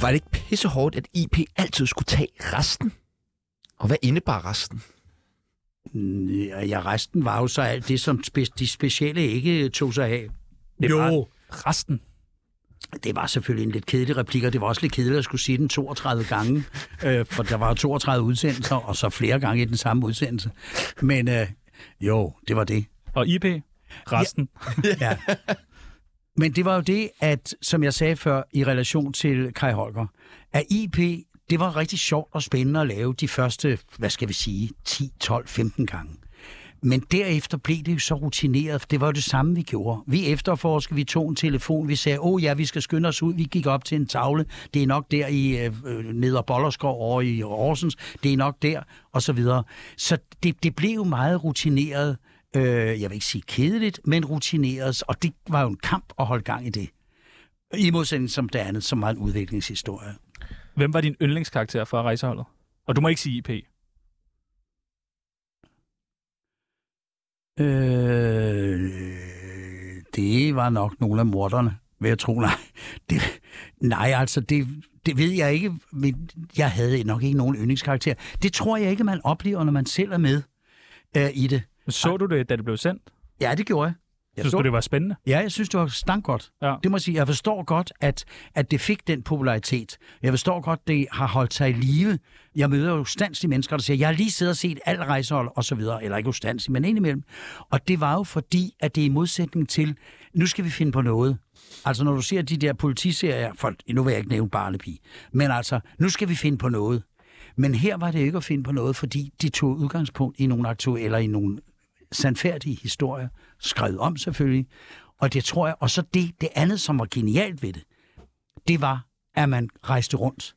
[SPEAKER 2] Var det ikke pissehårdt, at IP altid skulle tage resten? Og hvad indebar resten?
[SPEAKER 3] Mm, Ja, ja, resten var jo så alt det, som spe- de specielle ikke tog sig af.
[SPEAKER 1] Det var resten.
[SPEAKER 3] Det var selvfølgelig en lidt kedelig replik, og det var også lidt kedeligt at skulle sige den 32 gange, øh, for der var jo 32 udsendelser, og så flere gange i den samme udsendelse. Men øh, jo, det var det.
[SPEAKER 1] Og IP. Resten.
[SPEAKER 3] Ja. Men det var jo det, at, som jeg sagde før, i relation til Kai Holger, at IP, det var rigtig sjovt og spændende at lave de første, hvad skal vi sige, 10, 12, 15 gange. Men derefter blev det jo så rutineret, for det var jo det samme, vi gjorde. Vi efterforskede, vi tog en telefon, vi sagde, åh oh, ja, vi skal skynde os ud, vi gik op til en tavle, det er nok der i øh, øh, Neder Bollerskov over i Horsens, det er nok der, og så videre. Så det, det blev jo meget rutineret, øh, jeg vil ikke sige kedeligt, men rutineret, og det var jo en kamp at holde gang i det. I modsætning som det andet, som var en udviklingshistorie.
[SPEAKER 1] Hvem var din yndlingskarakter fra rejseholdet? Og du må ikke sige IP.
[SPEAKER 3] Øh, det var nok nogle af morderne, vil jeg tro. Nej, det, nej altså, det, det ved jeg ikke, men jeg havde nok ikke nogen yndlingskarakter. Det tror jeg ikke, man oplever, når man selv er med øh, i det.
[SPEAKER 1] Så du det, da det blev sendt?
[SPEAKER 3] Ja, det gjorde jeg. jeg
[SPEAKER 1] Synes
[SPEAKER 3] så
[SPEAKER 1] du, det var spændende?
[SPEAKER 3] Ja, jeg synes, det var stank godt.
[SPEAKER 1] Ja.
[SPEAKER 3] Det må jeg sige. Jeg forstår godt, at, at det fik den popularitet. Jeg forstår godt, det har holdt sig i live. Jeg møder jo standslige mennesker, der siger, jeg har lige siddet og set alt rejsehold og så videre. Eller ikke ustandslige, men indimellem. Og det var jo fordi, at det er i modsætning til, nu skal vi finde på noget. Altså, når du ser de der politiserier, for, nu vil jeg ikke nævne Barnaby, men altså, nu skal vi finde på noget. Men her var det ikke at finde på noget, fordi de tog udgangspunkt i nogle aktuelle, eller i nogle sandfærdige historier, skrevet om selvfølgelig. Og det tror jeg, og så det, det andet, som var genialt ved det, det var, at man rejste rundt.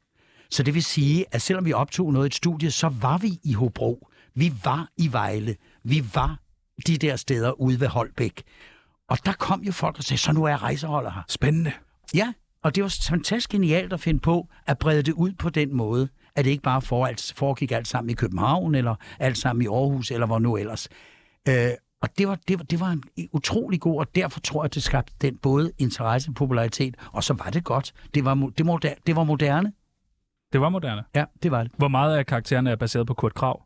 [SPEAKER 3] Så det vil sige, at selvom vi optog noget i et studie, så var vi i Hobro. Vi var i Vejle. Vi var de der steder ude ved Holbæk. Og der kom jo folk og sagde, så nu er jeg rejseholder her.
[SPEAKER 1] Spændende.
[SPEAKER 3] Ja, og det var fantastisk genialt at finde på at brede det ud på den måde, at det ikke bare for, alt, foregik alt sammen i København, eller alt sammen i Aarhus, eller hvor nu ellers. Øh, og det var, det, var, det var en utrolig god, og derfor tror jeg, at det skabte den både interesse og popularitet, og så var det godt. Det var, mo- det moder, det var moderne.
[SPEAKER 1] Det var moderne.
[SPEAKER 3] Ja, det var det.
[SPEAKER 1] Hvor meget af karaktererne er baseret på Kurt Krav?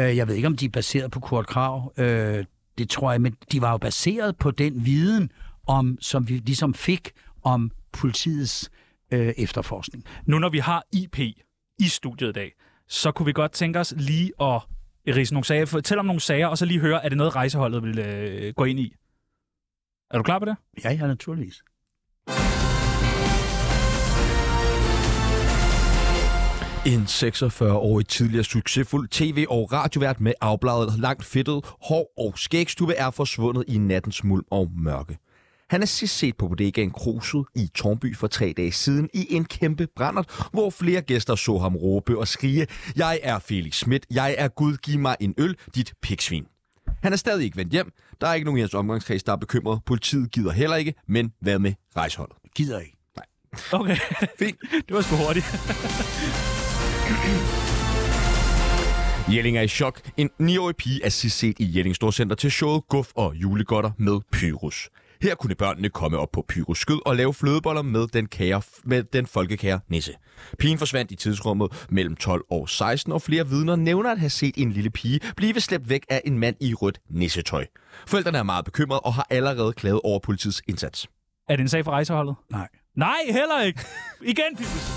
[SPEAKER 3] Øh, Jeg ved ikke, om de er baseret på Kurt Krav. Øh, Det tror jeg, men de var jo baseret på den viden, om, som vi ligesom fik om politiets øh, efterforskning.
[SPEAKER 1] Nu når vi har IP i studiet i dag, så kunne vi godt tænke os lige at rise nogle sager, fortælle om nogle sager, og så lige høre, er det noget rejseholdet vil øh, gå ind i? Er du klar på det?
[SPEAKER 3] Ja, ja, naturligvis.
[SPEAKER 2] En 46-årig tidligere succesfuld tv- og radiovært med afbladet, langt fedtet, hår og skægstube er forsvundet i nattens mulm og mørke. Han er sidst set på bodegaen Kruset i Tornby for tre dage siden i en kæmpe brændert, hvor flere gæster så ham råbe og skrige, jeg er Felix Schmidt, jeg er Gud, giv mig en øl, dit piksvin. Han er stadig ikke vendt hjem, der er ikke nogen i hans omgangskreds, der er bekymret, politiet gider heller ikke, men hvad med rejseholdet?
[SPEAKER 3] Gider ikke.
[SPEAKER 1] Okay,
[SPEAKER 2] Fint.
[SPEAKER 1] det var sgu hurtigt.
[SPEAKER 2] Jelling er i chok. En 9-årig pige er sidst set i Jelling Storcenter til showet Guf og julegodter med Pyrus. Her kunne børnene komme op på Pyrus skød og lave flødeboller med den, kære, med den folkekære nisse. Pigen forsvandt i tidsrummet mellem 12 og 16, og flere vidner nævner at have set en lille pige blive slæbt væk af en mand i rødt nissetøj. Forældrene er meget bekymrede og har allerede klaget over politiets indsats.
[SPEAKER 1] Er det en sag for rejseholdet?
[SPEAKER 3] Nej.
[SPEAKER 1] Nej, heller ikke. Igen, Pibus.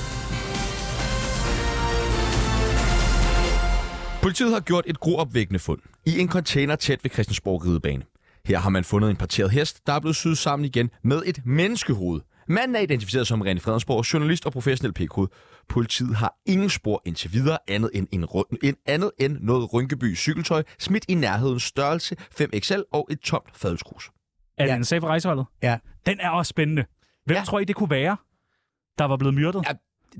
[SPEAKER 2] Politiet har gjort et gruopvækkende fund i en container tæt ved Christiansborg Ridebane. Her har man fundet en parteret hest, der er blevet syet sammen igen med et menneskehoved. Manden er identificeret som René Fredensborg, journalist og professionel pikhoved. Politiet har ingen spor indtil videre andet end, en rund, en andet end noget Rynkeby cykeltøj, smidt i nærheden størrelse 5XL og et tomt fadelskrus.
[SPEAKER 1] Er det
[SPEAKER 3] Ja.
[SPEAKER 1] en sag for rejseholdet?
[SPEAKER 3] Ja.
[SPEAKER 1] Den er også spændende. Hvem ja.
[SPEAKER 2] Ja.
[SPEAKER 1] tror I, det kunne være, der var blevet myrdet?
[SPEAKER 2] Ja,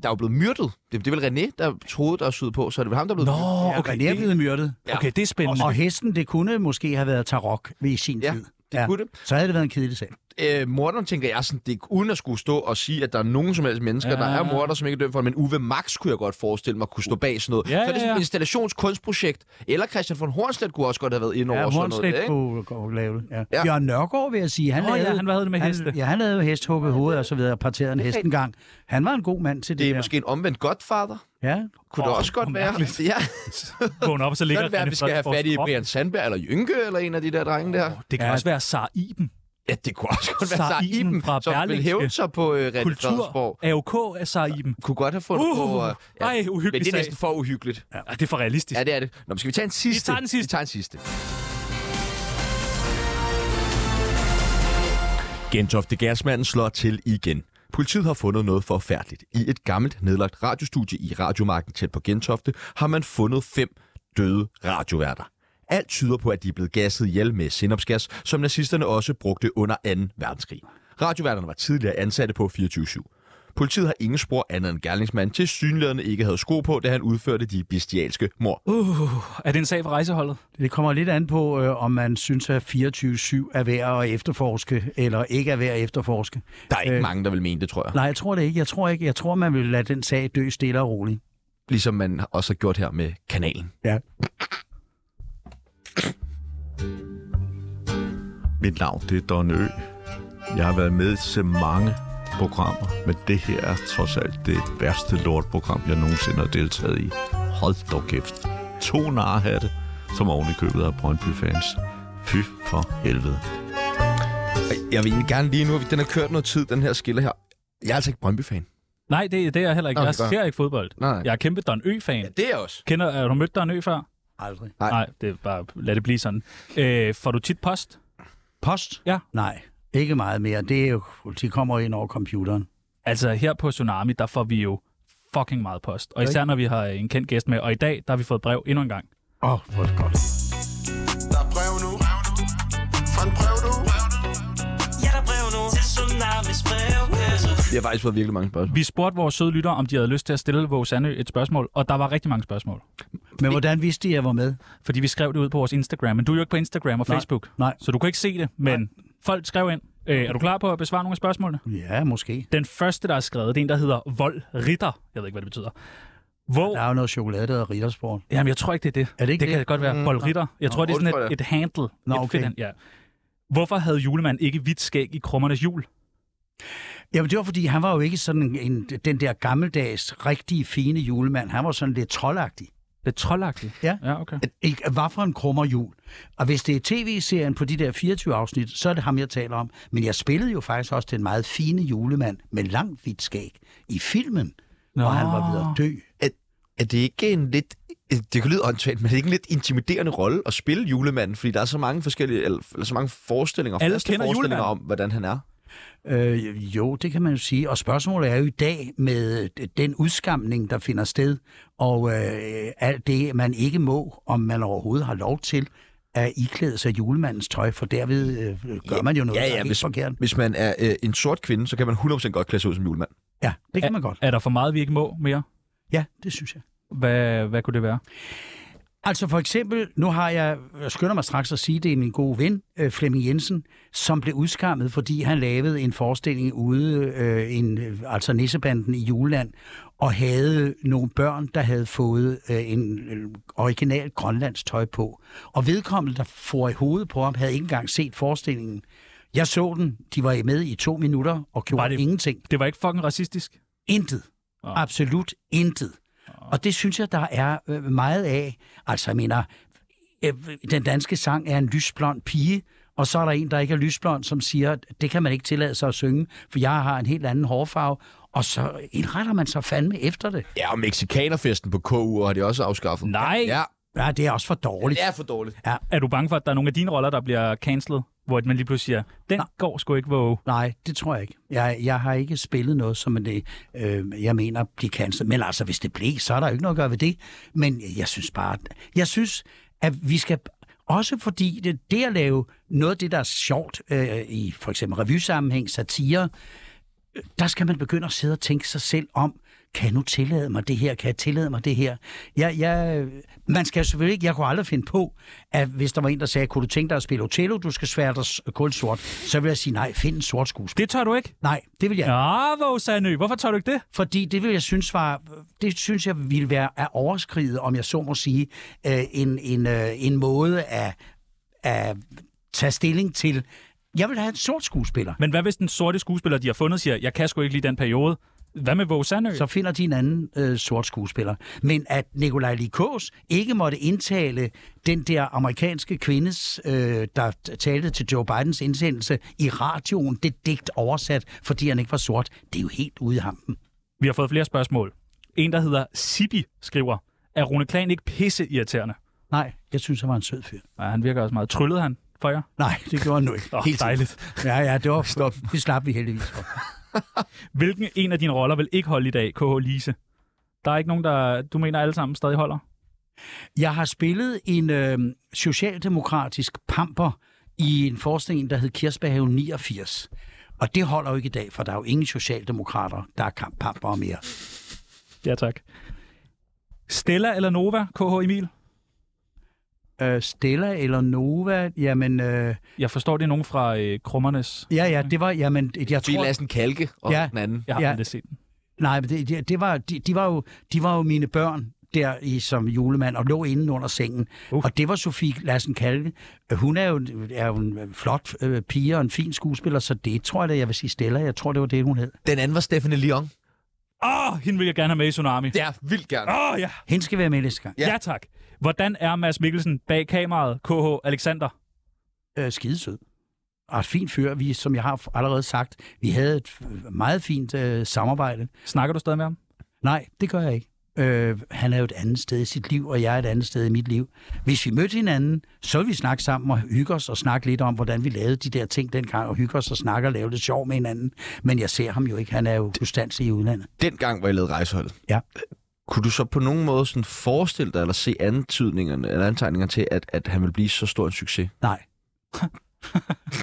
[SPEAKER 2] Der er jo blevet myrdet. Det, det er vel René, der troede, der er syet på, så er det vel ham, der er blevet myrdet.
[SPEAKER 1] Nå, okay.
[SPEAKER 3] Okay, det er blevet myrdet.
[SPEAKER 2] Ja.
[SPEAKER 1] Okay, det er spændende.
[SPEAKER 3] Og, og hesten, det kunne måske have været Tarok i sin
[SPEAKER 2] Ja,
[SPEAKER 3] tid.
[SPEAKER 2] det kunne det.
[SPEAKER 3] Så havde det været en kedelig sag.
[SPEAKER 2] øh, morderen, tænker jeg, sådan, det er uden at skulle stå og sige, at der er nogen som helst mennesker, ja. der er morder, som ikke er dømt for det, men Uwe Max kunne jeg godt forestille mig kunne stå bag sådan noget.
[SPEAKER 1] Ja,
[SPEAKER 2] så er det
[SPEAKER 1] ja,
[SPEAKER 2] sådan
[SPEAKER 1] ja.
[SPEAKER 2] et installationskunstprojekt. Eller Christian von Hornslet kunne også godt have været inde over
[SPEAKER 3] Ja,
[SPEAKER 2] sådan noget.
[SPEAKER 3] Hornslet
[SPEAKER 2] Ikke?
[SPEAKER 3] kunne kunne lave det. Ja.
[SPEAKER 2] Ja.
[SPEAKER 3] Ja. Bjørn Nørgaard, vil jeg sige. Han
[SPEAKER 1] Nå, ja, han- hvad havde det med heste?
[SPEAKER 3] Han, ja, han lavede jo hest, hugget hoved og så videre, og parteret en hest en gang. Han var en god mand til det,
[SPEAKER 2] Det er
[SPEAKER 3] der.
[SPEAKER 2] måske en omvendt godfather.
[SPEAKER 3] Ja,
[SPEAKER 2] Kunne oh, det
[SPEAKER 1] Åh,
[SPEAKER 2] også godt
[SPEAKER 1] hvor
[SPEAKER 2] være?
[SPEAKER 1] mærkeligt.
[SPEAKER 2] Ja,
[SPEAKER 1] Vågn op, og så
[SPEAKER 2] det
[SPEAKER 1] ligger
[SPEAKER 2] kan det være, at
[SPEAKER 1] René
[SPEAKER 2] vi skal have
[SPEAKER 1] Fredensborgs
[SPEAKER 2] fat i
[SPEAKER 1] krop.
[SPEAKER 2] Brian Sandberg eller Jynke eller en af de der drenge der.
[SPEAKER 1] Det kan ja.
[SPEAKER 3] Ja.
[SPEAKER 1] også være Sar Iben.
[SPEAKER 2] Ja, det kunne også godt være
[SPEAKER 1] Sar
[SPEAKER 2] Sar
[SPEAKER 1] Iben
[SPEAKER 2] Iben,
[SPEAKER 1] fra
[SPEAKER 2] som vil
[SPEAKER 1] Berlingske.
[SPEAKER 2] hæve sig på øh, René
[SPEAKER 1] Kultur.
[SPEAKER 2] Fredensborg.
[SPEAKER 1] AOK er Sar Iben.
[SPEAKER 2] Kunne godt have fundet
[SPEAKER 1] Uh,
[SPEAKER 2] på... øh,
[SPEAKER 1] ej, uhyggelig
[SPEAKER 2] Men det er
[SPEAKER 1] sag.
[SPEAKER 2] næsten for uhyggeligt.
[SPEAKER 1] Ja, det er for realistisk.
[SPEAKER 2] Ja, det er det. Nå, men skal vi tage en sidste?
[SPEAKER 1] tager den sidste.
[SPEAKER 2] Vi tager en sidste. Gentofte Gasmanden slår til igen. Politiet har fundet noget forfærdeligt. I et gammelt nedlagt radiostudie i Radiomarken tæt på Gentofte har man fundet fem døde radioværter. Alt tyder på, at de er blevet gasset ihjel med sinopsgas, som nazisterne også brugte under 2. verdenskrig. Radioværterne var tidligere ansatte på 24-7. Politiet har ingen spor andet end gerningsmanden til synlædende ikke havde sko på, da han udførte de bestialske mor.
[SPEAKER 1] Uh, er det en sag for rejseholdet?
[SPEAKER 3] det kommer lidt an på, øh, om man synes, at 24-7 er værd at efterforske, eller ikke er værd at efterforske.
[SPEAKER 2] Der er ikke øh,
[SPEAKER 3] Øh,
[SPEAKER 2] mange, der vil mene det, tror jeg.
[SPEAKER 3] Nej, jeg tror det ikke. Jeg tror ikke. Jeg tror, man vil lade den sag dø stille og roligt.
[SPEAKER 2] Ligesom man også har gjort her med kanalen.
[SPEAKER 3] Ja.
[SPEAKER 10] Mit navn det er Don Ø. Jeg har været med til mange programmer, men det her er trods alt det værste lortprogram, jeg nogensinde har deltaget i. Hold dog kæft. To narhatte, som oven i købet af Brøndby-fans. Fy for helvede.
[SPEAKER 2] Jeg vil egentlig gerne lige nu, den har kørt noget tid, den her skille her. Jeg er altså ikke Brøndby-fan.
[SPEAKER 1] Nej, det, det er jeg heller ikke.
[SPEAKER 2] Nå,
[SPEAKER 1] Jeg
[SPEAKER 2] det er godt.
[SPEAKER 1] ser ikke fodbold.
[SPEAKER 2] Nej, nej.
[SPEAKER 1] Jeg er kæmpe Don Ø-fan.
[SPEAKER 2] Ja, det er jeg også.
[SPEAKER 1] Kender, har du mødt Don Ø før?
[SPEAKER 3] Aldrig.
[SPEAKER 2] Nej.
[SPEAKER 1] Nej, det er bare, lad det blive sådan. Øh, får du tit post?
[SPEAKER 3] Post?
[SPEAKER 1] Ja.
[SPEAKER 3] Nej, ikke meget mere. Det er jo, de kommer ind over computeren.
[SPEAKER 1] Altså her på Tsunami, der får vi jo fucking meget post. Og især når vi har en kendt gæst med. Og i dag, der har vi fået brev endnu en gang.
[SPEAKER 3] Åh, oh, hvor er det godt.
[SPEAKER 6] Der er brev nu. Fra en brev nu.
[SPEAKER 7] Ja, der er brev nu til Tsunamis brevkasse.
[SPEAKER 2] Vi har faktisk fået virkelig mange spørgsmål.
[SPEAKER 1] Vi spurgte vores søde lyttere, om de havde lyst til at stille Våge Sandø et spørgsmål, og der var rigtig mange spørgsmål.
[SPEAKER 3] Men hvordan vidste de, at jeg var med?
[SPEAKER 1] Fordi vi skrev det ud på vores Instagram, men du er jo ikke på Instagram og
[SPEAKER 3] Nej,
[SPEAKER 1] Facebook.
[SPEAKER 3] nej.
[SPEAKER 1] Så du kunne ikke se det, men nej. folk skrev ind. Øh, er du klar på at besvare nogle af spørgsmålene?
[SPEAKER 3] Ja, måske.
[SPEAKER 1] Den første, der er skrevet, det er en, der hedder Vold Ritter. Jeg ved ikke, hvad det betyder. Hvor...
[SPEAKER 3] Der er jo noget chokolade, der hedder Rittersport.
[SPEAKER 1] Jamen, jeg tror ikke, det er det.
[SPEAKER 3] Er det ikke
[SPEAKER 1] det, kan
[SPEAKER 3] det?
[SPEAKER 1] godt være. Mm. Boldritter. Jeg tror, det er
[SPEAKER 2] det tror
[SPEAKER 1] sådan
[SPEAKER 2] jeg.
[SPEAKER 1] et, et handle.
[SPEAKER 3] Nå,
[SPEAKER 1] et
[SPEAKER 3] okay.
[SPEAKER 1] fedt hand- ja. Hvorfor havde julemanden ikke hvidt skæg i krummernes jul?
[SPEAKER 3] Jamen, det var fordi, han var jo ikke sådan en, en, den der gammeldags, rigtig fine julemand. Han var sådan lidt troldagtig.
[SPEAKER 1] Lidt troldagtig?
[SPEAKER 3] Ja.
[SPEAKER 1] Ja, okay.
[SPEAKER 3] Ikke? Hvad for en krummer jul? Og hvis det er tv-serien på de der 24 afsnit, så er det ham, jeg taler om. Men jeg spillede jo faktisk også den meget fine julemand med langt hvidt skæg i filmen, Nå. hvor han var ved at dø.
[SPEAKER 2] Er det ikke en lidt... Det kan lyde åndssvagt, men er det ikke en lidt intimiderende rolle at spille julemanden? Fordi der er så mange forskellige, eller, eller så mange forestillinger,
[SPEAKER 1] Alle
[SPEAKER 2] faste
[SPEAKER 1] kender
[SPEAKER 2] forestillinger om,
[SPEAKER 1] julemanden.
[SPEAKER 2] hvordan han er.
[SPEAKER 3] Øh, jo, det kan man jo sige. Og spørgsmålet er jo i dag med øh, den udskamning, der finder sted, og øh, alt det, man ikke må, om man overhovedet har lov til, at iklæde sig julemandens tøj, for derved øh, gør man jo noget, der er helt
[SPEAKER 2] hvis,
[SPEAKER 3] forkert.
[SPEAKER 2] hvis man er øh, en sort kvinde, så kan man 100% godt klæde sig ud som julemand.
[SPEAKER 3] Ja, det kan man godt.
[SPEAKER 1] Er der for meget, vi ikke må mere?
[SPEAKER 3] Ja, det synes jeg.
[SPEAKER 1] Hvad, hvad kunne det være?
[SPEAKER 3] Altså for eksempel, nu har jeg, jeg skynder mig straks at sige, det er min gode ven, øh, Flemming Jensen, som blev udskammet, fordi han lavede en forestilling ude, øh, en, øh, altså Nissebanden i Juland, og havde nogle børn, der havde fået øh, en øh, original grønlands tøj på. Og vedkommende, der får i hovedet på ham, havde ikke engang set forestillingen. Jeg så den, de var med i to minutter og
[SPEAKER 1] Var
[SPEAKER 3] gjorde
[SPEAKER 1] det-
[SPEAKER 3] det... ingenting.
[SPEAKER 1] Det var ikke fucking racistisk.
[SPEAKER 3] Intet.
[SPEAKER 1] Ah.
[SPEAKER 3] Ah. Absolut intet. Og det synes jeg, der er øh, meget af. Altså, jeg mener, øh, den danske sang er en lysblond pige, og så er der en, der ikke er lysblond, som siger, at det kan man ikke tillade sig at synge, for jeg har en helt anden hårfarve, og så indretter man sig fandme efter det.
[SPEAKER 2] Ja, og mexikanerfesten på KU har de også afskaffet.
[SPEAKER 1] Nej.
[SPEAKER 2] Ja,
[SPEAKER 3] Ja, det er også for dårligt.
[SPEAKER 2] det er for dårligt.
[SPEAKER 1] Er du bange for, at der er nogle af dine roller, der bliver cancelled? Hvor man lige pludselig siger, den
[SPEAKER 3] Nej.
[SPEAKER 1] går sgu ikke våge.
[SPEAKER 3] Nej, det tror jeg ikke. Jeg, jeg har ikke spillet noget, som det, øh, jeg mener bliver cancelled. Men altså, hvis det blev, så er der jo ikke noget at gøre ved det. Men jeg synes bare, at- jeg synes, at vi skal... Også fordi det, det at lave noget af det, der er sjovt øh, i for eksempel revysammenhæng, satire, øh, der skal man begynde at sidde og tænke sig selv om, kan jeg nu tillade mig det her? Kan jeg tillade mig det her? Jeg, jeg, man skal selvfølgelig ikke, jeg kunne aldrig finde på, at hvis der var en, der sagde, kunne du tænke dig at spille Otello, du skal svære dig s- kun sort, så vil jeg sige, nej, find en sort skuespiller.
[SPEAKER 1] Det tør du ikke?
[SPEAKER 3] Nej, det vil jeg ja.
[SPEAKER 1] Ja, hvor Sanø, hvorfor tør du ikke det?
[SPEAKER 3] Fordi det vil jeg synes var, det synes jeg ville være at overskride, om jeg så må sige, øh, en, en, øh, en måde at, at tage stilling til. Jeg vil have en sort skuespiller.
[SPEAKER 1] Men hvad hvis den sorte skuespiller, de har fundet, siger, jeg kan sgu ikke lige den periode? Hvad med Våge Sandø?
[SPEAKER 3] Så finder de en anden øh, sort skuespiller. Men at Nikolaj Likås ikke måtte indtale den der amerikanske kvindes, øh, der t- talte til Joe Bidens indsendelse i radioen, det digt oversat, fordi han ikke var sort, det er jo helt ude i hampen.
[SPEAKER 1] Vi har fået flere spørgsmål. En, der hedder Sibi, skriver, er Rune Klan ikke pisse irriterende?
[SPEAKER 3] Nej, jeg synes, han var en sød fyr.
[SPEAKER 1] Ja, han virker også meget. Tryllede han for jer?
[SPEAKER 3] Nej, det gjorde han nu ikke.
[SPEAKER 1] Åh,
[SPEAKER 2] Helt sikkert.
[SPEAKER 1] dejligt.
[SPEAKER 3] Ja, ja, det var Stop. Det slap vi heldigvis for.
[SPEAKER 1] Hvilken en af dine roller vil ikke holde i dag, KH Lise? Der er ikke nogen, der du mener alle sammen stadig holder?
[SPEAKER 3] Jeg har spillet en øh, socialdemokratisk pamper i en forestilling, der hed Kirsberghaven 89. Og det holder jo ikke i dag, for der er jo ingen socialdemokrater, der er kamp pamper mere.
[SPEAKER 1] Ja, tak. Stella eller Nova, KH Emil?
[SPEAKER 3] Øh, Stella eller Nova, jamen, øh,
[SPEAKER 1] Jeg forstår, det er nogen fra øh, Krummernes.
[SPEAKER 3] ja, ja, det var, jamen, jeg
[SPEAKER 2] Vi
[SPEAKER 3] tror...
[SPEAKER 2] lader sådan kalke og ja.
[SPEAKER 3] Ja.
[SPEAKER 2] den anden.
[SPEAKER 1] Jeg har ja.
[SPEAKER 3] Ja.
[SPEAKER 1] aldrig set den.
[SPEAKER 3] Nej, men det, det, det var, de, de, var jo, de var jo mine børn der i, som julemand og lå inde under sengen.
[SPEAKER 1] Uh.
[SPEAKER 3] Uh. Og det var Sofie Lassen Kalke. Hun er jo, en- er jo en flot øh, pige og en fin skuespiller, så det tror jeg da, jeg vil sige Stella. Jeg tror, det var det, hun hed.
[SPEAKER 2] Den anden var Stephanie Lyon.
[SPEAKER 1] Åh, oh, hende vil jeg gerne have med i Tsunami.
[SPEAKER 2] Ja, vildt gerne.
[SPEAKER 1] Åh, oh, ja.
[SPEAKER 3] Hende skal være med næste gang.
[SPEAKER 1] ja. Ja, tak. Hvordan er Mads Mikkelsen bag kameraet, KH Alexander?
[SPEAKER 3] øh, skidesød. Og et fint fyr, vi, som jeg har f- allerede sagt. Vi havde et øh, meget fint øh, samarbejde.
[SPEAKER 1] Snakker du stadig med ham?
[SPEAKER 3] Nej, det gør jeg ikke. Øh, han er jo et andet sted i sit liv, og jeg er et andet sted i mit liv. Hvis vi mødte hinanden, så ville vi snakke sammen og hygge os og snakke lidt om, hvordan vi lavede de der ting dengang, og hygge os og snakke og lave lidt sjov med hinanden. Men jeg ser ham jo ikke. Han er jo konstant i udlandet.
[SPEAKER 2] Dengang, hvor jeg lavede rejseholdet.
[SPEAKER 3] Ja.
[SPEAKER 2] Kunne du så på nogen måde sådan forestille dig, eller se antydningerne, eller antegningerne til, at, at han vil blive så stor en succes?
[SPEAKER 3] Nej.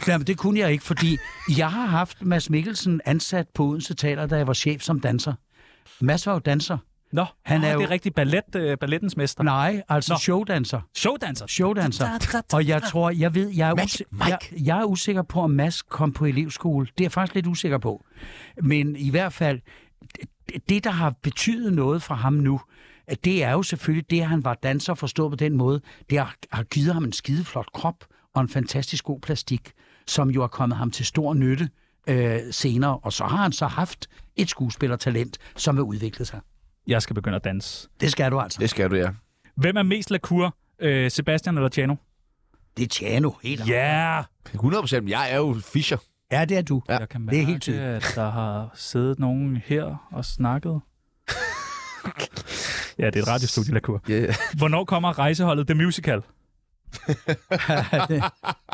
[SPEAKER 3] Jamen, det kunne jeg ikke, fordi jeg har haft Mads Mikkelsen ansat på Odense Teater, da jeg var chef som danser. Mads var jo danser.
[SPEAKER 1] Nå,
[SPEAKER 3] Han
[SPEAKER 1] Åh,
[SPEAKER 3] er jo-
[SPEAKER 1] det er rigtig ballet, øh, ballettens mester.
[SPEAKER 3] Nej, altså
[SPEAKER 1] Nå.
[SPEAKER 3] Nå. showdanser.
[SPEAKER 1] Showdanser.
[SPEAKER 3] Showdanser. Og jeg tror, jeg ved, jeg er,
[SPEAKER 2] Mads,
[SPEAKER 3] usi-
[SPEAKER 2] Mike.
[SPEAKER 3] jeg, jeg er usikker på, om Mads kom på elevskole. Det er jeg faktisk lidt usikker på. Men i hvert fald, det- det, der har betydet noget for ham nu, at det er jo selvfølgelig det, at han var danser forstået på den måde. Det har, har givet ham en skideflot krop og en fantastisk god plastik, som jo har kommet ham til stor nytte øh, senere. Og så har han så haft et skuespillertalent, som har udviklet sig.
[SPEAKER 1] Jeg skal begynde at danse.
[SPEAKER 3] Det skal du altså.
[SPEAKER 2] Det skal du, ja.
[SPEAKER 1] Hvem er mest lakur? Øh, Sebastian eller Tjano?
[SPEAKER 3] Det er Tjano helt
[SPEAKER 1] Ja! Yeah!
[SPEAKER 2] 100 procent. Jeg er jo Fischer.
[SPEAKER 3] Ja, det er du.
[SPEAKER 1] Jeg kan
[SPEAKER 3] det er
[SPEAKER 1] mærke,
[SPEAKER 3] helt tydeligt.
[SPEAKER 1] at der har siddet nogen her og snakket. ja, det er et radiostudie, lakur.
[SPEAKER 2] Yeah.
[SPEAKER 1] Hvornår kommer rejseholdet The Musical?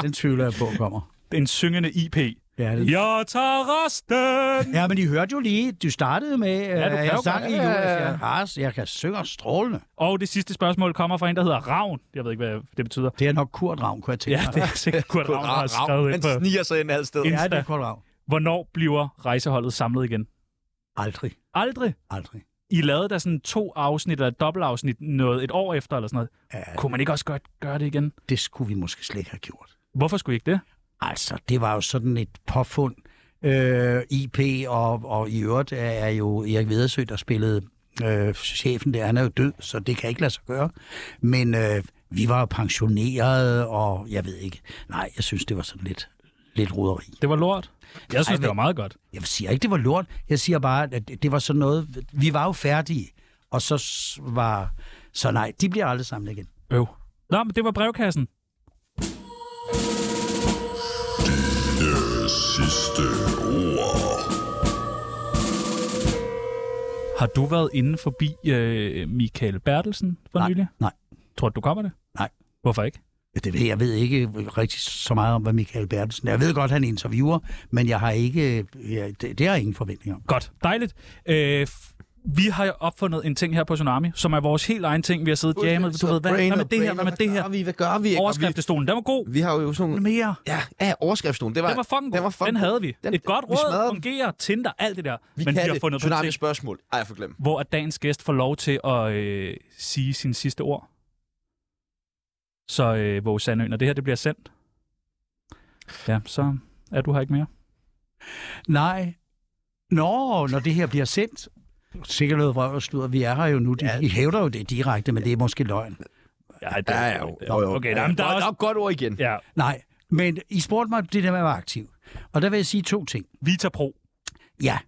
[SPEAKER 3] Den tvivler jeg på kommer.
[SPEAKER 1] En syngende IP.
[SPEAKER 3] Ja, det...
[SPEAKER 1] Jeg tager resten!
[SPEAKER 3] ja, men I hørte jo lige, du startede med, ja,
[SPEAKER 1] du kan
[SPEAKER 3] at
[SPEAKER 1] jo
[SPEAKER 3] jeg
[SPEAKER 1] godt.
[SPEAKER 3] sang i
[SPEAKER 1] Ja,
[SPEAKER 3] jul,
[SPEAKER 1] ja, ja.
[SPEAKER 3] jeg, har, jeg kan synge strålende.
[SPEAKER 1] Og det sidste spørgsmål kommer fra en, der hedder Ravn. Jeg ved ikke, hvad det betyder.
[SPEAKER 3] Det er nok Kurt Ravn, kunne jeg tænke
[SPEAKER 1] Ja,
[SPEAKER 3] mig.
[SPEAKER 1] det er sikkert Kurt Ravn, der har skrevet ind
[SPEAKER 2] Han
[SPEAKER 1] på.
[SPEAKER 2] sniger sig ind alle steder.
[SPEAKER 3] ja, det
[SPEAKER 1] Insta.
[SPEAKER 3] er Kurt Ravn.
[SPEAKER 1] Hvornår bliver rejseholdet samlet igen?
[SPEAKER 3] Aldrig,
[SPEAKER 1] Aldrig.
[SPEAKER 3] aldrig.
[SPEAKER 1] I lavede der sådan to afsnit eller et dobbeltafsnit noget et år efter eller sådan noget.
[SPEAKER 3] Ja,
[SPEAKER 1] Kunne man ikke også godt gøre det igen?
[SPEAKER 3] det skulle vi måske slet ikke have gjort.
[SPEAKER 1] Hvorfor skulle I ikke det?
[SPEAKER 3] Altså, det var jo sådan et påfund. Øh, IP og, og i øvrigt er- er jo Erik Vedersø, der spillede øh, chefen der. Han er jo død, så det kan ikke lade sig gøre. Men øh, vi var jo pensionerede, og jeg ved ikke. Nej, jeg synes, det var sådan lidt, lidt roderi.
[SPEAKER 1] Det var lort. Jeg synes,
[SPEAKER 3] Ej,
[SPEAKER 1] Ej, det var
[SPEAKER 3] men-
[SPEAKER 1] meget godt.
[SPEAKER 3] Jeg siger ikke, det var lort. Jeg siger bare, at det- det var sådan noget... Vi var jo færdige, og så s- var... Så nej, de bliver aldrig sammen igen.
[SPEAKER 1] Øv. Nå, men det var brevkassen. Har du været inde forbi øh, Michael Bertelsen for
[SPEAKER 3] Nej,
[SPEAKER 1] nylig?
[SPEAKER 3] nej.
[SPEAKER 1] Tror du, du kommer det?
[SPEAKER 3] Nej.
[SPEAKER 1] Hvorfor ikke?
[SPEAKER 3] Ja, Det ved jeg. jeg ved ikke rigtig så meget om, hvad Michael Bertelsen er. Jeg ved godt, han er interviewer, men jeg har ikke, ja, det, det har jeg ingen forventning om.
[SPEAKER 1] Godt. Dejligt. Øh, f- vi har jo opfundet en ting her på Tsunami, som er vores helt egen ting. Vi har siddet og jammet. Du ved, hvad, hvad med det her? Hvad med det her?
[SPEAKER 2] Hvad gør vi? Hvad gør vi? ikke?
[SPEAKER 1] Overskriftestolen, den var god.
[SPEAKER 2] Og Vi, vi har jo sådan nogle...
[SPEAKER 3] Mere.
[SPEAKER 2] Ja, ja overskriftsstolen. Det var,
[SPEAKER 1] Den var fucking god. Den,
[SPEAKER 2] Den, var fucking god.
[SPEAKER 1] havde vi.
[SPEAKER 2] Den-
[SPEAKER 1] Et godt
[SPEAKER 2] vi smadrede
[SPEAKER 1] råd
[SPEAKER 2] den.
[SPEAKER 1] fungerer, Tinder, alt det der. Men
[SPEAKER 2] Vi kan
[SPEAKER 1] vi har
[SPEAKER 2] det.
[SPEAKER 1] fundet på en
[SPEAKER 2] Tsunami
[SPEAKER 1] ting,
[SPEAKER 2] spørgsmål. Ej, jeg får glemt.
[SPEAKER 1] hvor at dagens gæst får lov til at øh, sige sin sidste ord. Så øh, Våge Sandø, når det her det bliver sendt, ja, så er du her ikke mere.
[SPEAKER 3] Nej. Nå, når det her bliver sendt. Sikkert noget vrøv og sludder. Vi er her jo nu. De, ja. de hævder jo det direkte, men det er måske løgn.
[SPEAKER 1] Ja, det
[SPEAKER 2] Ja, ja, jo. jo, jo.
[SPEAKER 1] Okay,
[SPEAKER 2] ja,
[SPEAKER 1] ja, der, der er også...
[SPEAKER 2] Nok godt ord igen.
[SPEAKER 1] Ja,
[SPEAKER 3] Nej, men I spurgte mig om det der med at være aktiv. Og der vil jeg sige to ting.
[SPEAKER 1] Vita Pro.
[SPEAKER 3] Ja.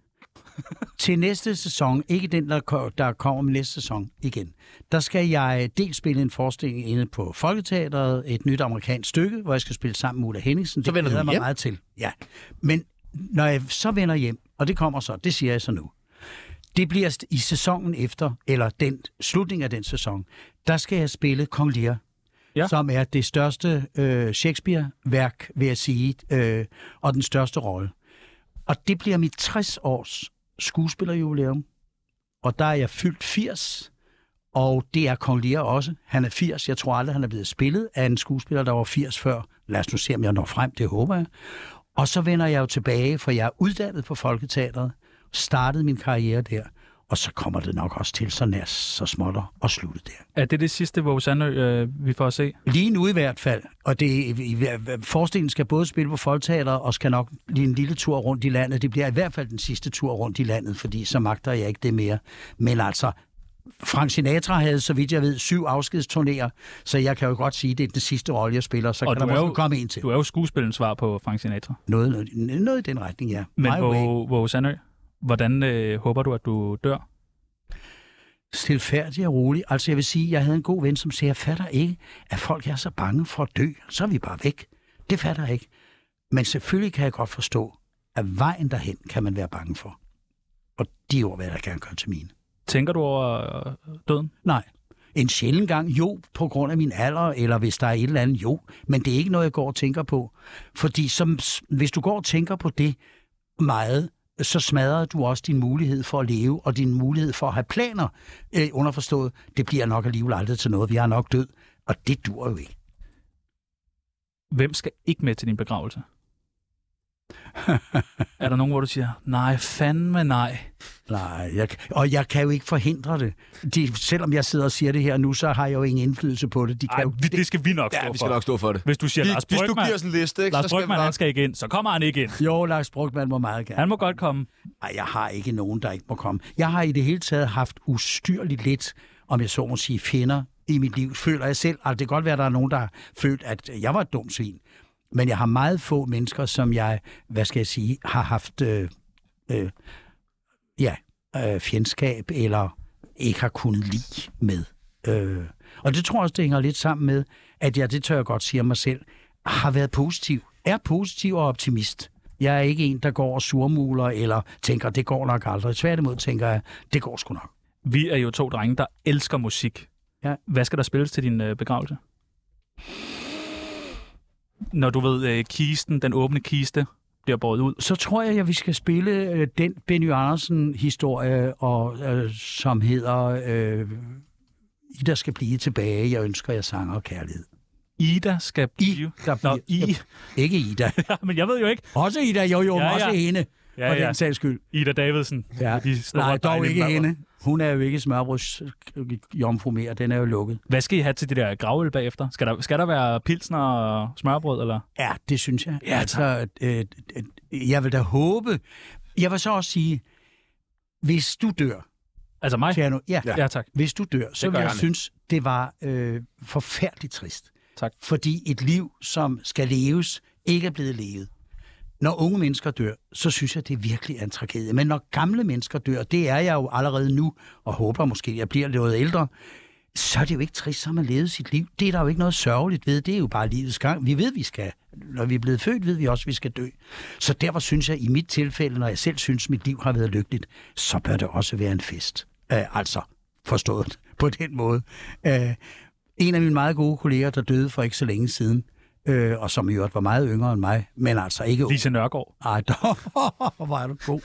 [SPEAKER 3] Til næste sæson, ikke den, der, ko- der kommer med næste sæson igen, der skal jeg dels spille en forestilling inde på Folketeateret, et nyt amerikansk stykke, hvor jeg skal spille sammen med Ulla Henningsen.
[SPEAKER 2] Så
[SPEAKER 3] Det
[SPEAKER 2] vender du
[SPEAKER 3] glæder jeg mig
[SPEAKER 2] hjem?
[SPEAKER 3] meget til. Ja. Men når jeg så vender hjem, og det kommer så, det siger jeg så nu, det bliver st- i sæsonen efter, eller den slutning af den sæson, der skal jeg spille Kong Lear
[SPEAKER 1] Ja.
[SPEAKER 3] ja. som er det største øh, Shakespeare-værk, vil jeg sige, øh, og den største rolle. Og det bliver mit 60-års skuespillerjubilæum, og der er jeg fyldt 80, og det er Kong Lear også. Han er 80, jeg tror aldrig, han er blevet spillet af en skuespiller, der var 80 før. Lad os nu se, om jeg når frem, det håber jeg. Og så vender jeg jo tilbage, for jeg er uddannet på Folketeateret, startede min karriere der, og så kommer det nok også til så næst, så småt og slutte der.
[SPEAKER 1] Er det det sidste Våge Sandø, øh, vi får at se?
[SPEAKER 3] Lige nu i hvert fald. Og det, i- i- forestillingen skal både spille på Folketeater og skal nok lige en lille tur rundt i landet. Det bliver i hvert fald den sidste tur rundt i landet, fordi så magter jeg ikke det mere. Men altså, Frank Sinatra havde, så vidt jeg ved, syv afskedsturnéer, så jeg kan jo godt sige, at det er den sidste rolle, jeg spiller, så
[SPEAKER 1] Og
[SPEAKER 3] og kan
[SPEAKER 1] du
[SPEAKER 3] der
[SPEAKER 1] er
[SPEAKER 3] måske
[SPEAKER 1] jo-
[SPEAKER 3] komme en til.
[SPEAKER 1] Du er jo skuespillens svar på Frank Sinatra.
[SPEAKER 3] Noget, noget, noget i den retning, ja.
[SPEAKER 1] Men
[SPEAKER 3] My way.
[SPEAKER 1] Våge, Våge Sandø, hvordan øh, håber du, at du dør?
[SPEAKER 3] Stilfærdig og rolig. Altså, jeg vil sige, jeg havde en god ven, som sagde, jeg fatter ikke, at folk er så bange for at dø. Så er vi bare væk. Det fatter jeg ikke. Men selvfølgelig kan jeg godt forstå, at vejen derhen kan man være bange for. Og de ord vil jeg da gerne gøre til mine.
[SPEAKER 1] Tænker du over øh, døden?
[SPEAKER 3] Nej. En sjælden gang, jo, på grund af min alder, eller hvis der er et eller andet, jo. Men det er ikke noget, jeg går og tænker på. Fordi som, hvis du går og tænker på det meget, så smadrer du også din mulighed for at leve, og din mulighed for at have planer øh, underforstået. Det bliver nok alligevel aldrig til noget. Vi er nok død, og det dur jo ikke.
[SPEAKER 1] Hvem skal ikke med til din begravelse? er der nogen, hvor du siger, nej, fandme nej?
[SPEAKER 3] Nej, jeg, og jeg kan jo ikke forhindre det. De, selvom jeg sidder og siger det her nu, så har jeg jo ingen indflydelse på det. De kan
[SPEAKER 1] Ej,
[SPEAKER 3] jo,
[SPEAKER 1] vi, det skal vi nok stå
[SPEAKER 2] Ja, vi skal
[SPEAKER 1] for.
[SPEAKER 2] nok stå for det.
[SPEAKER 1] Hvis du siger Lars
[SPEAKER 2] hvis du
[SPEAKER 1] Brygman,
[SPEAKER 2] giver sådan en liste, ikke, så
[SPEAKER 1] Lars
[SPEAKER 2] skal vi
[SPEAKER 1] Brygman, han
[SPEAKER 2] nok...
[SPEAKER 1] skal ikke ind, så kommer han ikke ind.
[SPEAKER 3] Jo, Lars Brugman må meget gerne.
[SPEAKER 1] Han må godt komme.
[SPEAKER 3] Ej, jeg har ikke nogen, der ikke må komme. Jeg har i det hele taget haft ustyrligt lidt, om jeg så må sige, fjender i mit liv, føler jeg selv. Altså, det kan godt være, at der er nogen, der har følt, at jeg var et dumt svin. Men jeg har meget få mennesker, som jeg, hvad skal jeg sige, har haft øh, øh, ja, øh, fjendskab eller ikke har kunnet lide med. Øh, og det tror jeg også, det hænger lidt sammen med, at jeg, det tør jeg godt sige om mig selv, har været positiv, er positiv og optimist. Jeg er ikke en, der går og surmuler eller tænker, det går nok aldrig. Tværtimod tænker jeg, det går sgu nok.
[SPEAKER 1] Vi er jo to drenge, der elsker musik.
[SPEAKER 3] Ja.
[SPEAKER 1] Hvad skal der spilles til din øh, begravelse? Når du ved, øh, kisten, den åbne kiste, bliver båret ud.
[SPEAKER 3] Så tror jeg, at vi skal spille øh, den Benny Andersen-historie, og, øh, som hedder øh, I, der skal blive tilbage. Jeg ønsker jer sanger og kærlighed.
[SPEAKER 1] Ida skal blive...
[SPEAKER 3] Der
[SPEAKER 1] Nå,
[SPEAKER 3] bliver-
[SPEAKER 1] I...
[SPEAKER 3] Ikke Ida.
[SPEAKER 1] Ja, men jeg ved jo ikke.
[SPEAKER 3] Også Ida, jo jo,
[SPEAKER 1] Ja,
[SPEAKER 3] ja,
[SPEAKER 1] ja.
[SPEAKER 3] ja. også hende.
[SPEAKER 1] Ja,
[SPEAKER 3] for
[SPEAKER 1] ja.
[SPEAKER 3] den sags skyld.
[SPEAKER 1] Ida Davidsen.
[SPEAKER 3] Ja.
[SPEAKER 1] De store,
[SPEAKER 3] Nej, dog
[SPEAKER 1] dejlige
[SPEAKER 3] ikke
[SPEAKER 1] bladder.
[SPEAKER 3] hende. Hun er jo ikke smørbrødsjomfru mere. Den er jo lukket.
[SPEAKER 1] Hvad skal I have til det der gravøl bagefter? Skal der, skal der være pilsner og smørbrød, eller?
[SPEAKER 3] Ja, det synes jeg.
[SPEAKER 1] Ja,
[SPEAKER 3] altså, øh, øh, jeg vil da håbe... Jeg vil så også sige, hvis du dør,
[SPEAKER 1] Altså mig?
[SPEAKER 3] Tjerno, ja,
[SPEAKER 1] Ja, tak.
[SPEAKER 3] hvis du dør, så
[SPEAKER 1] gør
[SPEAKER 3] vil jeg
[SPEAKER 1] jeg.
[SPEAKER 3] synes, det var øh, forfærdeligt trist.
[SPEAKER 1] Tak.
[SPEAKER 3] Fordi et liv, som skal leves, ikke er blevet levet. Når unge mennesker dør, så synes jeg, det virkelig er en tragedie. Men når gamle mennesker dør, det er jeg jo allerede nu, og håber måske, jeg bliver noget ældre, så er det jo ikke trist, så har man levet sit liv. Det er der jo ikke noget sørgeligt ved. Det er jo bare livets gang. Vi ved, vi skal. Når vi er blevet født, ved vi også, vi skal dø. Så derfor synes jeg, i mit tilfælde, når jeg selv synes, mit liv har været lykkeligt, så bør det også være en fest. Øh, altså, forstået på den måde. Øh, en af mine meget gode kolleger, der døde for ikke så længe siden, øh, og som i øvrigt var meget yngre end mig, men altså ikke
[SPEAKER 1] Lise Nørgaard.
[SPEAKER 3] ej, dog, hvor er du god.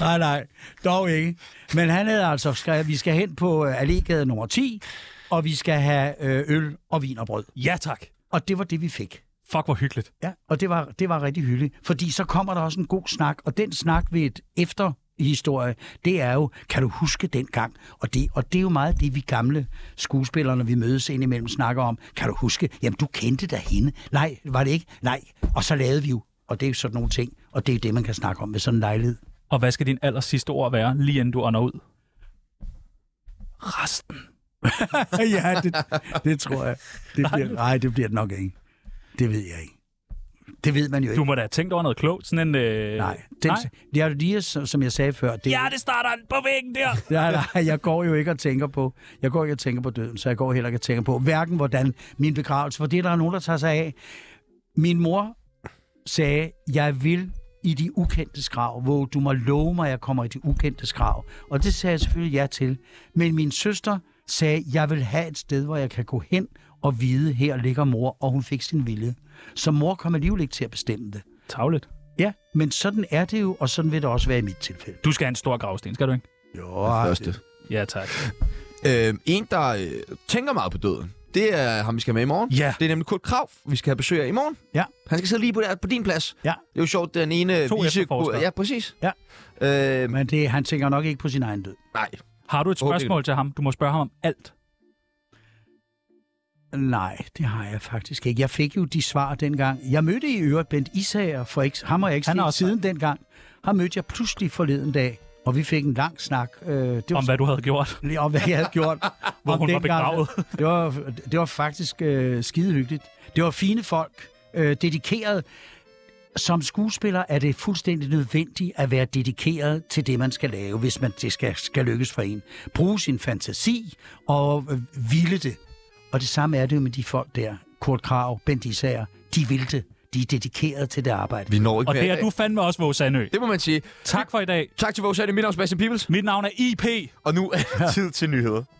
[SPEAKER 3] Nej, nej, dog ikke. Men han havde altså skrevet, vi skal hen på øh, Allégade nummer 10, og vi skal have øh, øl og vin og brød.
[SPEAKER 1] Ja, tak.
[SPEAKER 3] Og det var det, vi fik.
[SPEAKER 1] Fuck, hvor hyggeligt.
[SPEAKER 3] Ja, og det var, det var rigtig hyggeligt, fordi så kommer der også en god snak, og den snak ved et efterhistorie, det er jo, kan du huske dengang? Og det, og det er jo meget det, vi gamle skuespillere, når vi mødes indimellem, snakker om. Kan du huske? Jamen, du kendte da hende. Nej, var det ikke? Nej. Og så lavede vi jo. Og det er jo sådan nogle ting, og det er jo det, man kan snakke om ved sådan en lejlighed.
[SPEAKER 1] Og hvad skal din aller sidste ord være, lige inden du ånder ud? Resten.
[SPEAKER 3] ja, det, det tror jeg. Det bliver, nej, det bliver det nok ikke. Det ved jeg ikke. Det ved man jo
[SPEAKER 1] Du
[SPEAKER 3] ikke.
[SPEAKER 1] må da have tænkt over noget klogt. Sådan en... Øh...
[SPEAKER 3] Nej, den,
[SPEAKER 1] Nej.
[SPEAKER 3] det er jo lige, så- som jeg sagde før. Det, er jo-
[SPEAKER 1] det starter på væggen der.
[SPEAKER 3] Nej, nej, jeg går jo ikke og tænker på, jeg går ikke og tænker på døden, så jeg går heller ikke og tænker på, hverken hvordan min begravelse, for det er der nogen, der tager sig af. Min mor sagde, jeg vil i de ukendte skrav, hvor du må love mig, at jeg kommer i de ukendte skrav. Og det sagde jeg selvfølgelig ja til. Men min søster sagde, jeg vil have et sted, hvor jeg kan gå hen og vide, her ligger mor, og hun fik sin vilje. Så mor kom alligevel ikke til at bestemme det.
[SPEAKER 1] Tavligt.
[SPEAKER 3] Ja, men sådan er det jo, og sådan vil det også være i mit tilfælde.
[SPEAKER 1] Du skal have en stor gravsten, skal du ikke?
[SPEAKER 3] Jo,
[SPEAKER 2] Første.
[SPEAKER 1] Ja, tak.
[SPEAKER 2] Øh, en, der øh, tænker meget på døden, det er ham, vi skal have med i morgen.
[SPEAKER 1] Ja.
[SPEAKER 2] Det er nemlig Kurt Krav, vi skal have besøg af i morgen.
[SPEAKER 3] Ja.
[SPEAKER 2] Han skal sidde lige på, der, på din plads.
[SPEAKER 3] Ja.
[SPEAKER 2] Det er jo sjovt, den ene...
[SPEAKER 1] To efterforskere.
[SPEAKER 2] Ja, præcis.
[SPEAKER 3] Ja.
[SPEAKER 2] Øh,
[SPEAKER 3] men det, han tænker nok ikke på sin egen død.
[SPEAKER 2] nej,
[SPEAKER 1] Har du et
[SPEAKER 2] Håber
[SPEAKER 1] spørgsmål til ham? Du må spørge ham om alt.
[SPEAKER 3] Nej, det har jeg faktisk ikke. Jeg fik jo de svar dengang. Jeg mødte i øvrigt Bent Isager, for ikke, ham har jeg ikke
[SPEAKER 1] Han er
[SPEAKER 3] set
[SPEAKER 1] også-
[SPEAKER 3] siden dengang. Ham mødte jeg pludselig forleden dag, og vi fik en lang snak. Øh, det var
[SPEAKER 1] Om hvad du havde gjort.
[SPEAKER 3] lige om, hvad jeg havde gjort.
[SPEAKER 1] Hvor
[SPEAKER 3] Om
[SPEAKER 1] hun var
[SPEAKER 3] dengang.
[SPEAKER 1] begravet.
[SPEAKER 3] Det var, det var faktisk øh, skidehyggeligt. Det var fine folk, øh, dedikeret. Som skuespiller er det fuldstændig nødvendigt at være dedikeret til det, man skal lave, hvis man det skal, skal lykkes for en. Bruge sin fantasi og øh, ville det. Og det samme er det jo med de folk der. Kurt Krav, Bent Isager, de vil det. De er dedikeret til det arbejde.
[SPEAKER 2] vi når ikke
[SPEAKER 1] Og
[SPEAKER 2] mere.
[SPEAKER 1] det er du fandme også, Våge Sandø.
[SPEAKER 2] Det må man sige.
[SPEAKER 1] Tak for i dag.
[SPEAKER 2] Tak til vores Mit navn er Sebastian Pibels.
[SPEAKER 1] Mit navn er IP.
[SPEAKER 2] Og nu er det tid til nyheder.